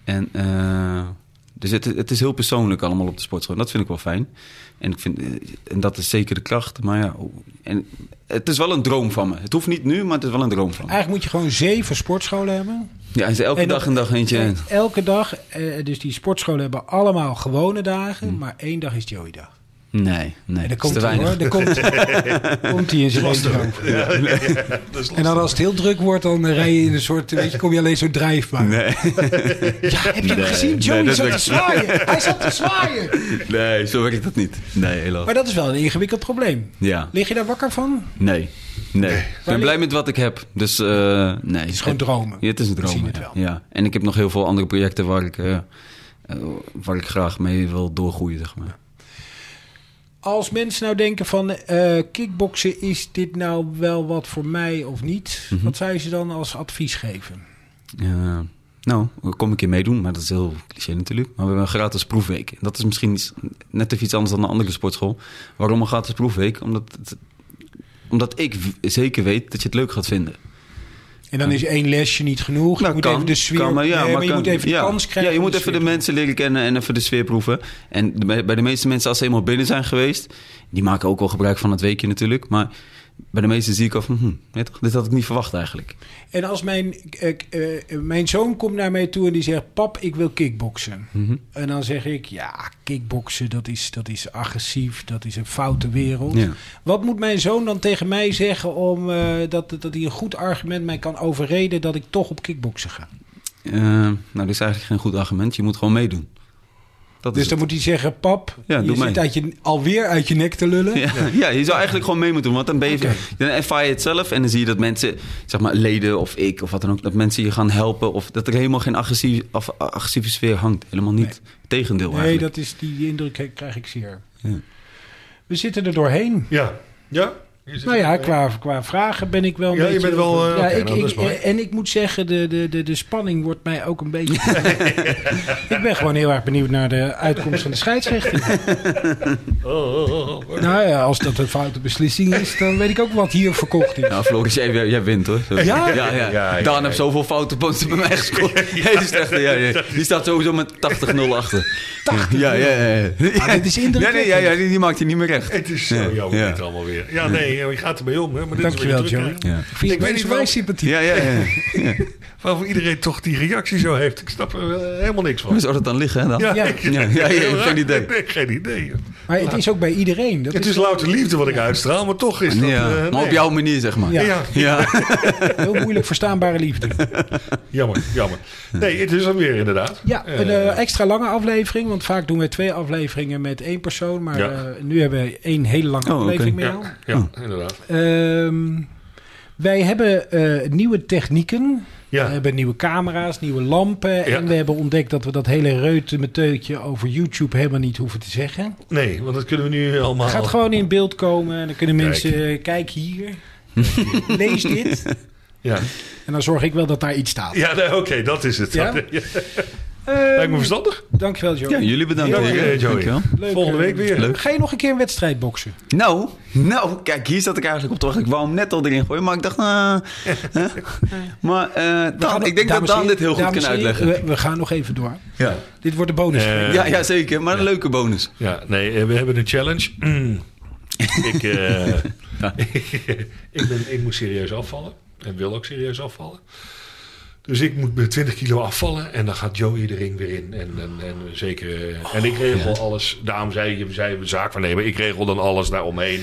[SPEAKER 5] En, eh, dus het, het is heel persoonlijk allemaal op de sportschool. En dat vind ik wel fijn. En, ik vind, eh, en dat is zeker de klacht. Maar ja, hoe- en het is wel een droom van me. Het hoeft niet nu, maar het is wel een droom van me.
[SPEAKER 1] Eigenlijk moet je gewoon zeven sportscholen hebben.
[SPEAKER 5] Ja, is elke
[SPEAKER 1] En dan-
[SPEAKER 5] dag een dag eentje.
[SPEAKER 1] En Elke dag. eh, dus die sportscholen hebben allemaal gewone dagen.
[SPEAKER 5] Mhm.
[SPEAKER 1] Maar één dag is Joey dag.
[SPEAKER 5] Nee, nee.
[SPEAKER 1] En
[SPEAKER 5] dat
[SPEAKER 1] daar
[SPEAKER 5] is te
[SPEAKER 1] komt hij
[SPEAKER 5] weinig.
[SPEAKER 1] hoor. Daar komt, komt hij in zijn
[SPEAKER 4] lastig.
[SPEAKER 1] eentje over.
[SPEAKER 4] Dat is
[SPEAKER 1] En dan als het heel druk wordt, dan eh, rij je in een soort, weet je, kom je alleen zo'n drijfbaan.
[SPEAKER 5] Nee.
[SPEAKER 1] Ja, heb je hem
[SPEAKER 5] Nee,
[SPEAKER 1] gezien?
[SPEAKER 5] nee,
[SPEAKER 1] Joey
[SPEAKER 5] dat
[SPEAKER 1] zat te
[SPEAKER 5] werkt-
[SPEAKER 1] zwaaien. Hij zat te zwaaien.
[SPEAKER 5] nee, zo werkt dat niet. Nee, helaas.
[SPEAKER 1] Maar dat is wel een ingewikkeld probleem.
[SPEAKER 5] Ja.
[SPEAKER 1] Lig je daar wakker van?
[SPEAKER 5] Nee. Nee. Ik ben
[SPEAKER 1] ligt-
[SPEAKER 5] blij met wat ik heb. Dus eh, nee. Het
[SPEAKER 1] is gewoon dromen.
[SPEAKER 5] Ja, het is een
[SPEAKER 1] We
[SPEAKER 5] droom.
[SPEAKER 1] zien het
[SPEAKER 5] ja.
[SPEAKER 1] wel.
[SPEAKER 5] Ja. En ik heb nog heel veel andere projecten waar ik, eh, eh, waar ik graag mee wil doorgroeien, zeg maar.
[SPEAKER 1] Als mensen nou denken van eh kickboksen, is dit nou wel wat voor mij of niet?
[SPEAKER 5] Mhm.
[SPEAKER 1] Wat zou je ze dan als advies geven?
[SPEAKER 5] Eh, nou, kom ik keer meedoen, maar dat is heel cliché natuurlijk. Maar we hebben een gratis proefweek. En dat is misschien iets, net even iets anders dan een andere sportschool. Waarom een gratis proefweek? Omdat, het- omdat ik w- zeker weet dat je het leuk gaat vinden.
[SPEAKER 1] En dan is één lesje niet genoeg. je moet
[SPEAKER 5] Nou, kan,
[SPEAKER 1] even de sfeer...
[SPEAKER 5] kan, maar ja,
[SPEAKER 1] nee, maar je
[SPEAKER 5] kan-
[SPEAKER 1] moet even de
[SPEAKER 5] ja.
[SPEAKER 1] kans krijgen.
[SPEAKER 5] Ja, je
[SPEAKER 1] om
[SPEAKER 5] moet even
[SPEAKER 1] sfeer
[SPEAKER 5] de
[SPEAKER 1] te-
[SPEAKER 5] mensen leren kennen en even de sfeer proeven. En de- bij bij de meeste mensen, als ze eenmaal binnen zijn geweest... die maken ook wel gebruik van het weekje natuurlijk. Maar bij de meeste zie ik al van... Hm, ja toch, dit had ik niet verwacht eigenlijk.
[SPEAKER 1] En als mijn, eh, eh, eh, mijn zoon komt naar mij toe en die zegt... pap, ik wil kickboksen.
[SPEAKER 5] Mhm.
[SPEAKER 1] En dan zeg ik, ja, kickboksen, dat is, dat is agressief. Dat is een foute wereld.
[SPEAKER 5] Ja.
[SPEAKER 1] Wat moet mijn zoon dan tegen mij zeggen... om eh, dat, dat hij een goed argument mij kan overreden... dat ik toch op kickboksen ga?
[SPEAKER 5] Eh, nou, dat is eigenlijk geen goed argument. Je moet gewoon meedoen. Dat
[SPEAKER 1] Dus
[SPEAKER 5] is
[SPEAKER 1] dan
[SPEAKER 5] het.
[SPEAKER 1] moet hij zeggen, pap,
[SPEAKER 5] Ja,
[SPEAKER 1] je
[SPEAKER 5] doe
[SPEAKER 1] zit
[SPEAKER 5] mee.
[SPEAKER 1] uit je, alweer uit je nek te lullen.
[SPEAKER 5] Ja, ja, je zou eigenlijk gewoon mee moeten doen. Want dan, ben je,
[SPEAKER 1] Oké.
[SPEAKER 5] dan ervaar je het zelf. En dan zie je dat mensen, zeg maar leden of ik of wat dan ook... dat mensen je gaan helpen. Of dat er helemaal geen agressieve, of agressieve sfeer hangt. Helemaal niet. Tegendeel
[SPEAKER 1] nee,
[SPEAKER 5] eigenlijk.
[SPEAKER 1] dat is, die indruk he- krijg ik zeer.
[SPEAKER 5] Ja.
[SPEAKER 1] We zitten er doorheen.
[SPEAKER 4] Ja. Ja? Je zit-
[SPEAKER 1] Nou ja, qua, qua vragen ben ik wel een
[SPEAKER 4] Ja, je
[SPEAKER 1] beetje-
[SPEAKER 4] bent wel, eh,
[SPEAKER 1] ja,
[SPEAKER 4] oké,
[SPEAKER 1] ik,
[SPEAKER 4] nou, dat
[SPEAKER 1] ik-
[SPEAKER 4] is mooi.
[SPEAKER 1] eh, en ik moet zeggen, de, de, de, de spanning wordt mij ook een beetje... ik ben gewoon heel erg benieuwd naar de uitkomst van de scheidsrechter.
[SPEAKER 4] Oh,
[SPEAKER 1] nou ja, als dat een foute beslissing is, dan weet ik ook wat hier verkocht is.
[SPEAKER 5] Nou, Floris, jij, jij wint hoor. Ja? Ja, ja.
[SPEAKER 4] ja,
[SPEAKER 5] Daan
[SPEAKER 4] ja.
[SPEAKER 5] heeft zoveel foute punten bij mij gescoord. Hele slechte, ja, ja. Die staat sowieso met 80-0 achter. 80 Ja, ja, ja. ja.
[SPEAKER 1] Ah, dit is
[SPEAKER 5] Nee,
[SPEAKER 1] indrukwekkend.
[SPEAKER 5] nee, ja, ja, die, die maakt hij niet meer recht.
[SPEAKER 4] Het is zo jammer
[SPEAKER 5] Ja.
[SPEAKER 4] dit allemaal weer. Ja, nee, je gaat ermee om. Hè, maar dit is wat je
[SPEAKER 1] Dankjewel,
[SPEAKER 4] terugkrijgt.
[SPEAKER 1] Joey.
[SPEAKER 5] Ja.
[SPEAKER 1] Vind
[SPEAKER 4] Ik weet
[SPEAKER 1] niet
[SPEAKER 4] niet wel-
[SPEAKER 1] sympathiek.
[SPEAKER 5] Ja, ja, ja.
[SPEAKER 4] Waarvoor iedereen toch die reactie zo heeft. Ik snap er eh, helemaal niks van.
[SPEAKER 5] Waar zou dat dan liggen, hè? Dan?
[SPEAKER 4] Ja,
[SPEAKER 1] Ja.
[SPEAKER 4] ik-
[SPEAKER 5] Ja, ja, ja, geen idee.
[SPEAKER 4] Nee, geen idee.
[SPEAKER 1] Maar het is ook bij iedereen. Dat
[SPEAKER 4] Het is louter liefde wat ik uitstraal, maar toch is dat...
[SPEAKER 5] Ja.
[SPEAKER 4] eh,
[SPEAKER 5] Maar op
[SPEAKER 4] nee.
[SPEAKER 5] jouw manier, zeg maar.
[SPEAKER 1] Ja.
[SPEAKER 4] Ja,
[SPEAKER 5] Ja.
[SPEAKER 1] Heel moeilijk verstaanbare liefde.
[SPEAKER 4] jammer, jammer. Nee, het is hem weer inderdaad.
[SPEAKER 1] Ja,
[SPEAKER 4] Eh,
[SPEAKER 1] een eh, extra lange aflevering. Want vaak doen we twee afleveringen met één persoon. Maar
[SPEAKER 4] Ja.
[SPEAKER 1] eh, nu hebben we één hele lange
[SPEAKER 5] Oh, oké.
[SPEAKER 1] aflevering meer.
[SPEAKER 4] ja, ja,
[SPEAKER 5] Hm.
[SPEAKER 4] inderdaad.
[SPEAKER 1] Ehm, wij hebben eh, nieuwe technieken. We
[SPEAKER 4] Ja,
[SPEAKER 1] hebben nieuwe camera's, nieuwe lampen. En we hebben ontdekt dat we dat hele reutemeteutje over YouTube helemaal niet hoeven te zeggen.
[SPEAKER 4] nee, want dat kunnen we nu allemaal...
[SPEAKER 1] Het gaat gewoon in beeld komen. En dan kunnen
[SPEAKER 4] Kijk.
[SPEAKER 1] mensen eh, kijk hier. Lees dit.
[SPEAKER 4] Ja,
[SPEAKER 1] En dan zorg ik wel dat daar iets staat.
[SPEAKER 4] ja nee, oké, dat is het.
[SPEAKER 1] Ja?
[SPEAKER 4] Lijkt me
[SPEAKER 1] Ehm
[SPEAKER 4] verstandig.
[SPEAKER 1] dankjewel, Joe.
[SPEAKER 5] ja, jullie bedankt.
[SPEAKER 4] Dank je,
[SPEAKER 5] heren.
[SPEAKER 4] Joey.
[SPEAKER 5] Dankjewel.
[SPEAKER 1] Leuk,
[SPEAKER 4] Volgende
[SPEAKER 1] eh,
[SPEAKER 4] week weer.
[SPEAKER 5] Leuk.
[SPEAKER 1] Ga je nog een keer een wedstrijd boksen?
[SPEAKER 5] Nou, nou, kijk, hier zat ik eigenlijk op te wachten. Ik wou hem net al erin gooien, maar ik dacht... nou, hè? Maar eh
[SPEAKER 1] We gaan
[SPEAKER 5] Daan,
[SPEAKER 1] nog-
[SPEAKER 5] ik denk dat
[SPEAKER 1] dames en
[SPEAKER 5] Daan dit heel
[SPEAKER 1] heren,
[SPEAKER 5] goed
[SPEAKER 1] dames
[SPEAKER 5] kan
[SPEAKER 1] en heren,
[SPEAKER 5] uitleggen.
[SPEAKER 1] We, we gaan nog even door.
[SPEAKER 5] Ja.
[SPEAKER 1] Dit wordt de bonus.
[SPEAKER 4] Eh,
[SPEAKER 5] Ja, ja, zeker. Maar een leuke bonus.
[SPEAKER 4] Ja, nee, eh, we hebben een challenge. Mm. ik, eh, ik, ben, ik moet serieus afvallen. En wil ook serieus afvallen. Dus ik moet met 20 kilo afvallen. En dan gaat Joey de ring weer in. En, en, en
[SPEAKER 5] Oh,
[SPEAKER 4] zeker. eh, en ik regel alles. Daarom zei je, zei je zaak van nemen. Ik regel dan alles daaromheen.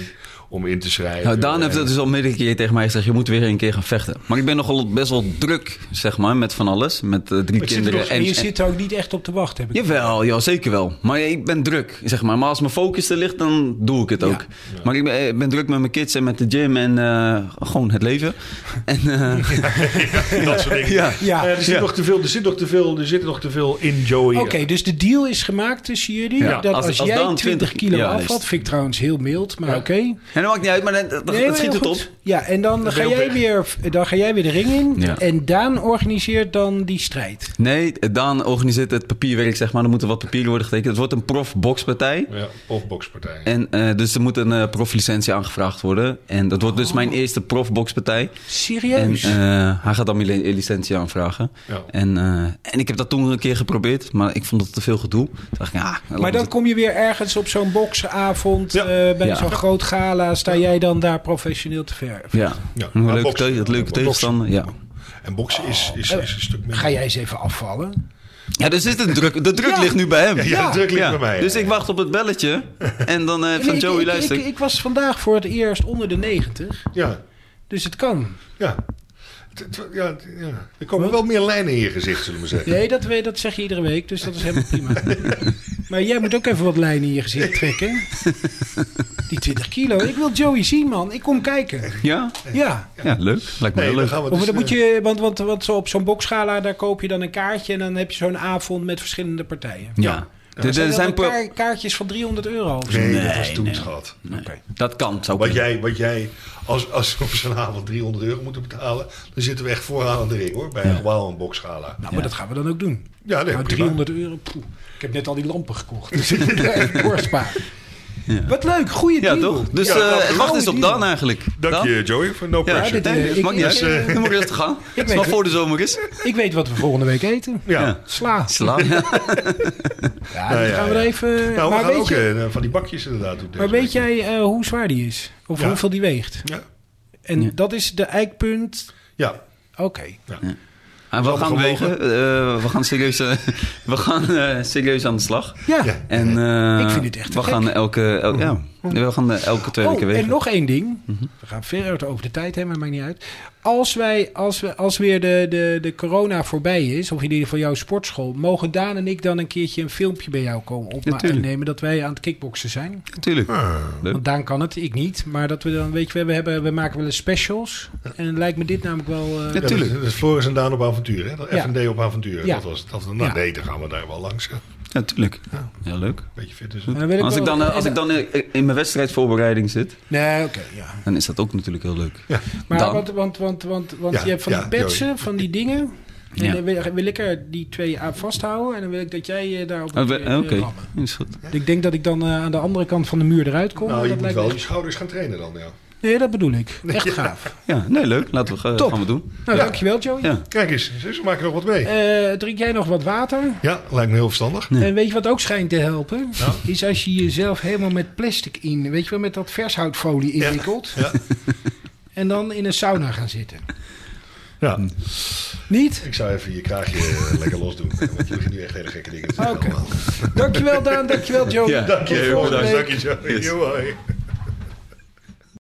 [SPEAKER 4] om in te schrijven.
[SPEAKER 5] Nou, Daan
[SPEAKER 4] En-
[SPEAKER 1] eh,
[SPEAKER 5] heeft dat dus al meerdere keer tegen mij gezegd. Je moet weer een keer gaan vechten. Maar ik ben nogal best wel druk, zeg maar, met van alles. Met eh, drie
[SPEAKER 4] Maar je zit er
[SPEAKER 5] kinderen.
[SPEAKER 4] nog-
[SPEAKER 1] En
[SPEAKER 5] en-
[SPEAKER 1] je
[SPEAKER 5] en-
[SPEAKER 1] zit er ook niet echt op te wachten, heb ik.
[SPEAKER 5] Jawel, ja, zeker wel. Maar ja, ik ben druk, zeg maar. Maar als mijn focus er ligt, dan doe ik het ook. Maar ik ben, ik ben druk met mijn kids en met de gym en eh, gewoon het leven. En, eh,
[SPEAKER 4] dat soort dingen.
[SPEAKER 5] Ja.
[SPEAKER 1] Ja.
[SPEAKER 4] Eh, er, zit
[SPEAKER 5] Ja.
[SPEAKER 4] nog te veel, er zit nog te veel, er zit nog te veel in Joey.
[SPEAKER 1] Oké, dus de deal is gemaakt tussen jullie.
[SPEAKER 5] Ja,
[SPEAKER 1] Dat als,
[SPEAKER 5] als- als
[SPEAKER 1] jij
[SPEAKER 5] Daan
[SPEAKER 1] 20 kilo
[SPEAKER 5] ja,
[SPEAKER 1] af
[SPEAKER 5] is-
[SPEAKER 1] had, vind ik trouwens heel mild, maar
[SPEAKER 4] Ja.
[SPEAKER 1] oké.
[SPEAKER 5] en dat maakt niet uit, maar dat, dat- dat
[SPEAKER 1] Nee, maar
[SPEAKER 5] schiet
[SPEAKER 1] heel
[SPEAKER 5] het
[SPEAKER 1] goed.
[SPEAKER 5] op.
[SPEAKER 1] Ja, en dan ga,
[SPEAKER 4] ben je
[SPEAKER 1] jij
[SPEAKER 4] op
[SPEAKER 1] weer, dan ga jij weer de ring in.
[SPEAKER 5] Ja.
[SPEAKER 1] En Daan organiseert dan die strijd.
[SPEAKER 5] Nee, Daan organiseert het papierwerk, zeg maar. Er moeten wat papieren worden getekend. Het wordt een prof-boxpartij.
[SPEAKER 4] Ja, of bokspartij.
[SPEAKER 5] En eh, dus er moet een eh, proflicentie aangevraagd worden. En dat wordt
[SPEAKER 1] Oh.
[SPEAKER 5] dus mijn eerste profboxpartij. En
[SPEAKER 1] Serieus?
[SPEAKER 5] eh, hij gaat dan mijn li- licentie aanvragen.
[SPEAKER 4] Ja.
[SPEAKER 5] En, eh, en ik heb dat toen een keer geprobeerd, maar ik vond dat te veel gedoe. Toen dacht ik, ja, laat
[SPEAKER 1] maar dan
[SPEAKER 5] het.
[SPEAKER 1] kom je weer ergens op zo'n boksavond
[SPEAKER 4] Ja.
[SPEAKER 1] eh, bij
[SPEAKER 5] Ja.
[SPEAKER 1] zo'n groot gala. Sta jij dan daar professioneel te ver?
[SPEAKER 5] Ja,
[SPEAKER 4] Ja,
[SPEAKER 5] een
[SPEAKER 4] maar
[SPEAKER 5] leuke,
[SPEAKER 4] boksen.
[SPEAKER 5] teu- het leuke
[SPEAKER 4] Boksen.
[SPEAKER 5] tegenstander. Ja.
[SPEAKER 4] En boksen is, is, is een stuk minder.
[SPEAKER 1] Ga jij eens even afvallen?
[SPEAKER 5] ja, dus is de druk, de druk
[SPEAKER 1] Ja.
[SPEAKER 5] ligt nu bij hem.
[SPEAKER 4] Ja, ja, de druk ligt bij mij,
[SPEAKER 5] Dus
[SPEAKER 4] ja.
[SPEAKER 5] ik wacht op het belletje. En dan eh, van
[SPEAKER 1] Nee, ik-
[SPEAKER 5] Joey,
[SPEAKER 1] ik,
[SPEAKER 5] luister.
[SPEAKER 1] Ik, ik was vandaag voor het eerst onder de 90.
[SPEAKER 4] Ja,
[SPEAKER 1] Dus het kan.
[SPEAKER 4] ja. Het- het- ja, het- ja. Er komen wel meer lijnen in je gezicht, zullen we zeggen.
[SPEAKER 1] Nee, dat, we- dat zeg je iedere week, dus dat is helemaal prima. Maar jij moet ook even wat lijnen in je gezicht trekken. Die 20 kilo. Ik wil Joey zien, man. Ik kom kijken.
[SPEAKER 5] Ja?
[SPEAKER 1] Ja.
[SPEAKER 5] ja, leuk. Lijkt me
[SPEAKER 4] Nee,
[SPEAKER 5] heel
[SPEAKER 4] dan
[SPEAKER 5] leuk.
[SPEAKER 4] gaan we
[SPEAKER 1] Of
[SPEAKER 4] dus,
[SPEAKER 1] dan
[SPEAKER 4] eh,
[SPEAKER 1] moet je, want, want, want zo op zo'n boksgala, daar koop je dan een kaartje en dan heb je zo'n avond met verschillende partijen.
[SPEAKER 5] Ja. Er-
[SPEAKER 1] Er
[SPEAKER 5] Er
[SPEAKER 1] zijn,
[SPEAKER 5] zijn
[SPEAKER 1] dan
[SPEAKER 5] pro-
[SPEAKER 1] kaar- kaartjes van 300 euro. of zo?
[SPEAKER 4] eh, Nee, dat was toen schat.
[SPEAKER 5] Dat kan, zou
[SPEAKER 4] Wat
[SPEAKER 5] kunnen.
[SPEAKER 4] jij, wat jij als, als we op zo'n avond 300 euro moeten betalen, dan zitten we echt vooraan aan de ring hoor. Bij een wauw en boksgala.
[SPEAKER 1] Nou, maar dat gaan we dan ook doen.
[SPEAKER 4] Ja, nee,
[SPEAKER 1] nou,
[SPEAKER 4] prima.
[SPEAKER 1] 300 euro. poeh. Ik heb net al die lampen gekocht. Dus ik moet daar even doorsparen.
[SPEAKER 5] Ja.
[SPEAKER 1] Wat leuk, goede
[SPEAKER 5] Ja,
[SPEAKER 1] deal.
[SPEAKER 5] toch? Dus
[SPEAKER 4] Ja,
[SPEAKER 5] eh,
[SPEAKER 4] dat-
[SPEAKER 5] het wacht eens
[SPEAKER 1] gouden
[SPEAKER 5] op
[SPEAKER 1] deal.
[SPEAKER 5] Dan eigenlijk.
[SPEAKER 4] Dank
[SPEAKER 5] Dan?
[SPEAKER 4] je Joey voor no
[SPEAKER 5] Ja,
[SPEAKER 4] pressure.
[SPEAKER 1] dit-
[SPEAKER 5] nee,
[SPEAKER 1] eh,
[SPEAKER 5] dat
[SPEAKER 1] ik-
[SPEAKER 5] maakt niet
[SPEAKER 1] ik-
[SPEAKER 5] uit.
[SPEAKER 1] eh,
[SPEAKER 5] Dan moet je rustig gaan. Het is
[SPEAKER 1] weet
[SPEAKER 5] maar
[SPEAKER 1] het.
[SPEAKER 5] voor de zomer is.
[SPEAKER 1] Ik weet wat we volgende week eten.
[SPEAKER 4] ja.
[SPEAKER 5] Ja.
[SPEAKER 1] Sla.
[SPEAKER 5] Sla. Ja.
[SPEAKER 1] Ja,
[SPEAKER 4] Nou,
[SPEAKER 1] dan
[SPEAKER 4] ja,
[SPEAKER 1] gaan we er
[SPEAKER 4] ja.
[SPEAKER 1] even...
[SPEAKER 4] Nou, we
[SPEAKER 1] maar
[SPEAKER 4] gaan
[SPEAKER 1] weet
[SPEAKER 4] ook
[SPEAKER 1] je,
[SPEAKER 4] eh, van die bakjes inderdaad doen.
[SPEAKER 1] maar
[SPEAKER 4] deze
[SPEAKER 1] weet
[SPEAKER 4] week.
[SPEAKER 1] jij eh, hoe zwaar die is? Of
[SPEAKER 4] Ja.
[SPEAKER 1] hoeveel die weegt?
[SPEAKER 4] Ja,
[SPEAKER 1] En
[SPEAKER 5] Ja.
[SPEAKER 1] dat is de eikpunt.
[SPEAKER 4] ja.
[SPEAKER 1] Oké.
[SPEAKER 5] En we gaan wegen. eh, we gaan serieus, eh, we gaan, eh, serieus aan de slag.
[SPEAKER 1] Ja.
[SPEAKER 4] Ja.
[SPEAKER 5] En, eh,
[SPEAKER 1] Ik vind dit echt te
[SPEAKER 5] we
[SPEAKER 1] gek.
[SPEAKER 5] gaan elke, el- ja, we gaan eh, elke twee
[SPEAKER 1] Oh,
[SPEAKER 5] weken wegen.
[SPEAKER 1] en nog één ding.
[SPEAKER 5] Mhm.
[SPEAKER 1] We gaan verder over de tijd heen, maar maakt niet uit. Als, wij, als, we, als weer de, de, de corona voorbij is, of in ieder geval jouw sportschool... mogen Daan en ik dan een keertje een filmpje bij jou komen opnemen...
[SPEAKER 5] tuurlijk.
[SPEAKER 1] nemen dat wij aan het kickboksen zijn?
[SPEAKER 5] Natuurlijk. Leuk.
[SPEAKER 1] Want Daan kan het, ik niet. Maar dat we dan, weet je, we, hebben, we maken wel eens specials. En lijkt me dit namelijk wel... eh,
[SPEAKER 5] Ja,
[SPEAKER 4] Ja,
[SPEAKER 5] tuurlijk.
[SPEAKER 4] dat is- dat is Floris en Daan op avontuur, hè? Dat
[SPEAKER 1] Ja.
[SPEAKER 4] F&D op avontuur.
[SPEAKER 1] Ja.
[SPEAKER 4] Dat was, dat, nou,
[SPEAKER 1] Ja.
[SPEAKER 4] Nee, dan gaan we daar wel langs. hè.
[SPEAKER 5] Ja, tuurlijk. Ja, leuk.
[SPEAKER 4] Beetje fit is
[SPEAKER 1] en dan wil
[SPEAKER 5] Als ik
[SPEAKER 1] wel-
[SPEAKER 5] dan, eh, als
[SPEAKER 1] en-
[SPEAKER 5] ik dan eh, in mijn wedstrijdvoorbereiding zit,
[SPEAKER 1] Nee, oké, ja.
[SPEAKER 5] dan is dat ook natuurlijk heel leuk.
[SPEAKER 1] Maar
[SPEAKER 5] Dan.
[SPEAKER 1] want, want, want, want, want
[SPEAKER 4] Ja,
[SPEAKER 1] je hebt van
[SPEAKER 4] ja,
[SPEAKER 1] die petsen, van die dingen. En
[SPEAKER 5] Ja.
[SPEAKER 1] dan wil, wil ik er die twee aan vasthouden. En dan wil ik dat jij eh, daarop
[SPEAKER 5] Oh, we-
[SPEAKER 1] eh,
[SPEAKER 5] eh, Oké,
[SPEAKER 1] rammen. Dus
[SPEAKER 5] is goed.
[SPEAKER 1] Ik denk dat ik dan eh, aan de andere kant van de muur eruit kom.
[SPEAKER 4] Nou,
[SPEAKER 1] maar
[SPEAKER 4] je
[SPEAKER 1] dat
[SPEAKER 4] moet
[SPEAKER 1] lijkt
[SPEAKER 4] wel
[SPEAKER 1] me-
[SPEAKER 4] je schouders gaan trainen dan, ja.
[SPEAKER 1] Nee, dat bedoel ik. Echt gaaf.
[SPEAKER 5] Ja, nee, leuk. Laten we gaan,
[SPEAKER 1] Top.
[SPEAKER 5] gaan we doen.
[SPEAKER 1] Nou,
[SPEAKER 4] Ja.
[SPEAKER 1] dankjewel Joey.
[SPEAKER 5] Ja.
[SPEAKER 4] Kijk eens, ze ze maken nog wat mee.
[SPEAKER 1] Eh, drink jij nog wat water?
[SPEAKER 4] Ja, lijkt me heel verstandig.
[SPEAKER 1] En weet je wat ook schijnt te helpen? Is als je jezelf helemaal met plastic in, weet je wel, met dat vershoutfolie inwikkelt.
[SPEAKER 4] Ja.
[SPEAKER 1] En dan in een sauna gaan zitten.
[SPEAKER 4] Ja,
[SPEAKER 1] Niet?
[SPEAKER 4] ik zou even je kraagje eh, lekker los doen. Want je begint nu echt hele gekke dingen te zeggen
[SPEAKER 1] Oké.
[SPEAKER 4] allemaal.
[SPEAKER 1] Dankjewel Daan, dankjewel Joey.
[SPEAKER 5] Ja.
[SPEAKER 1] Tot
[SPEAKER 4] Dank je,
[SPEAKER 1] volgende
[SPEAKER 4] jongens.
[SPEAKER 1] week.
[SPEAKER 4] Dank je, Joey. Joey.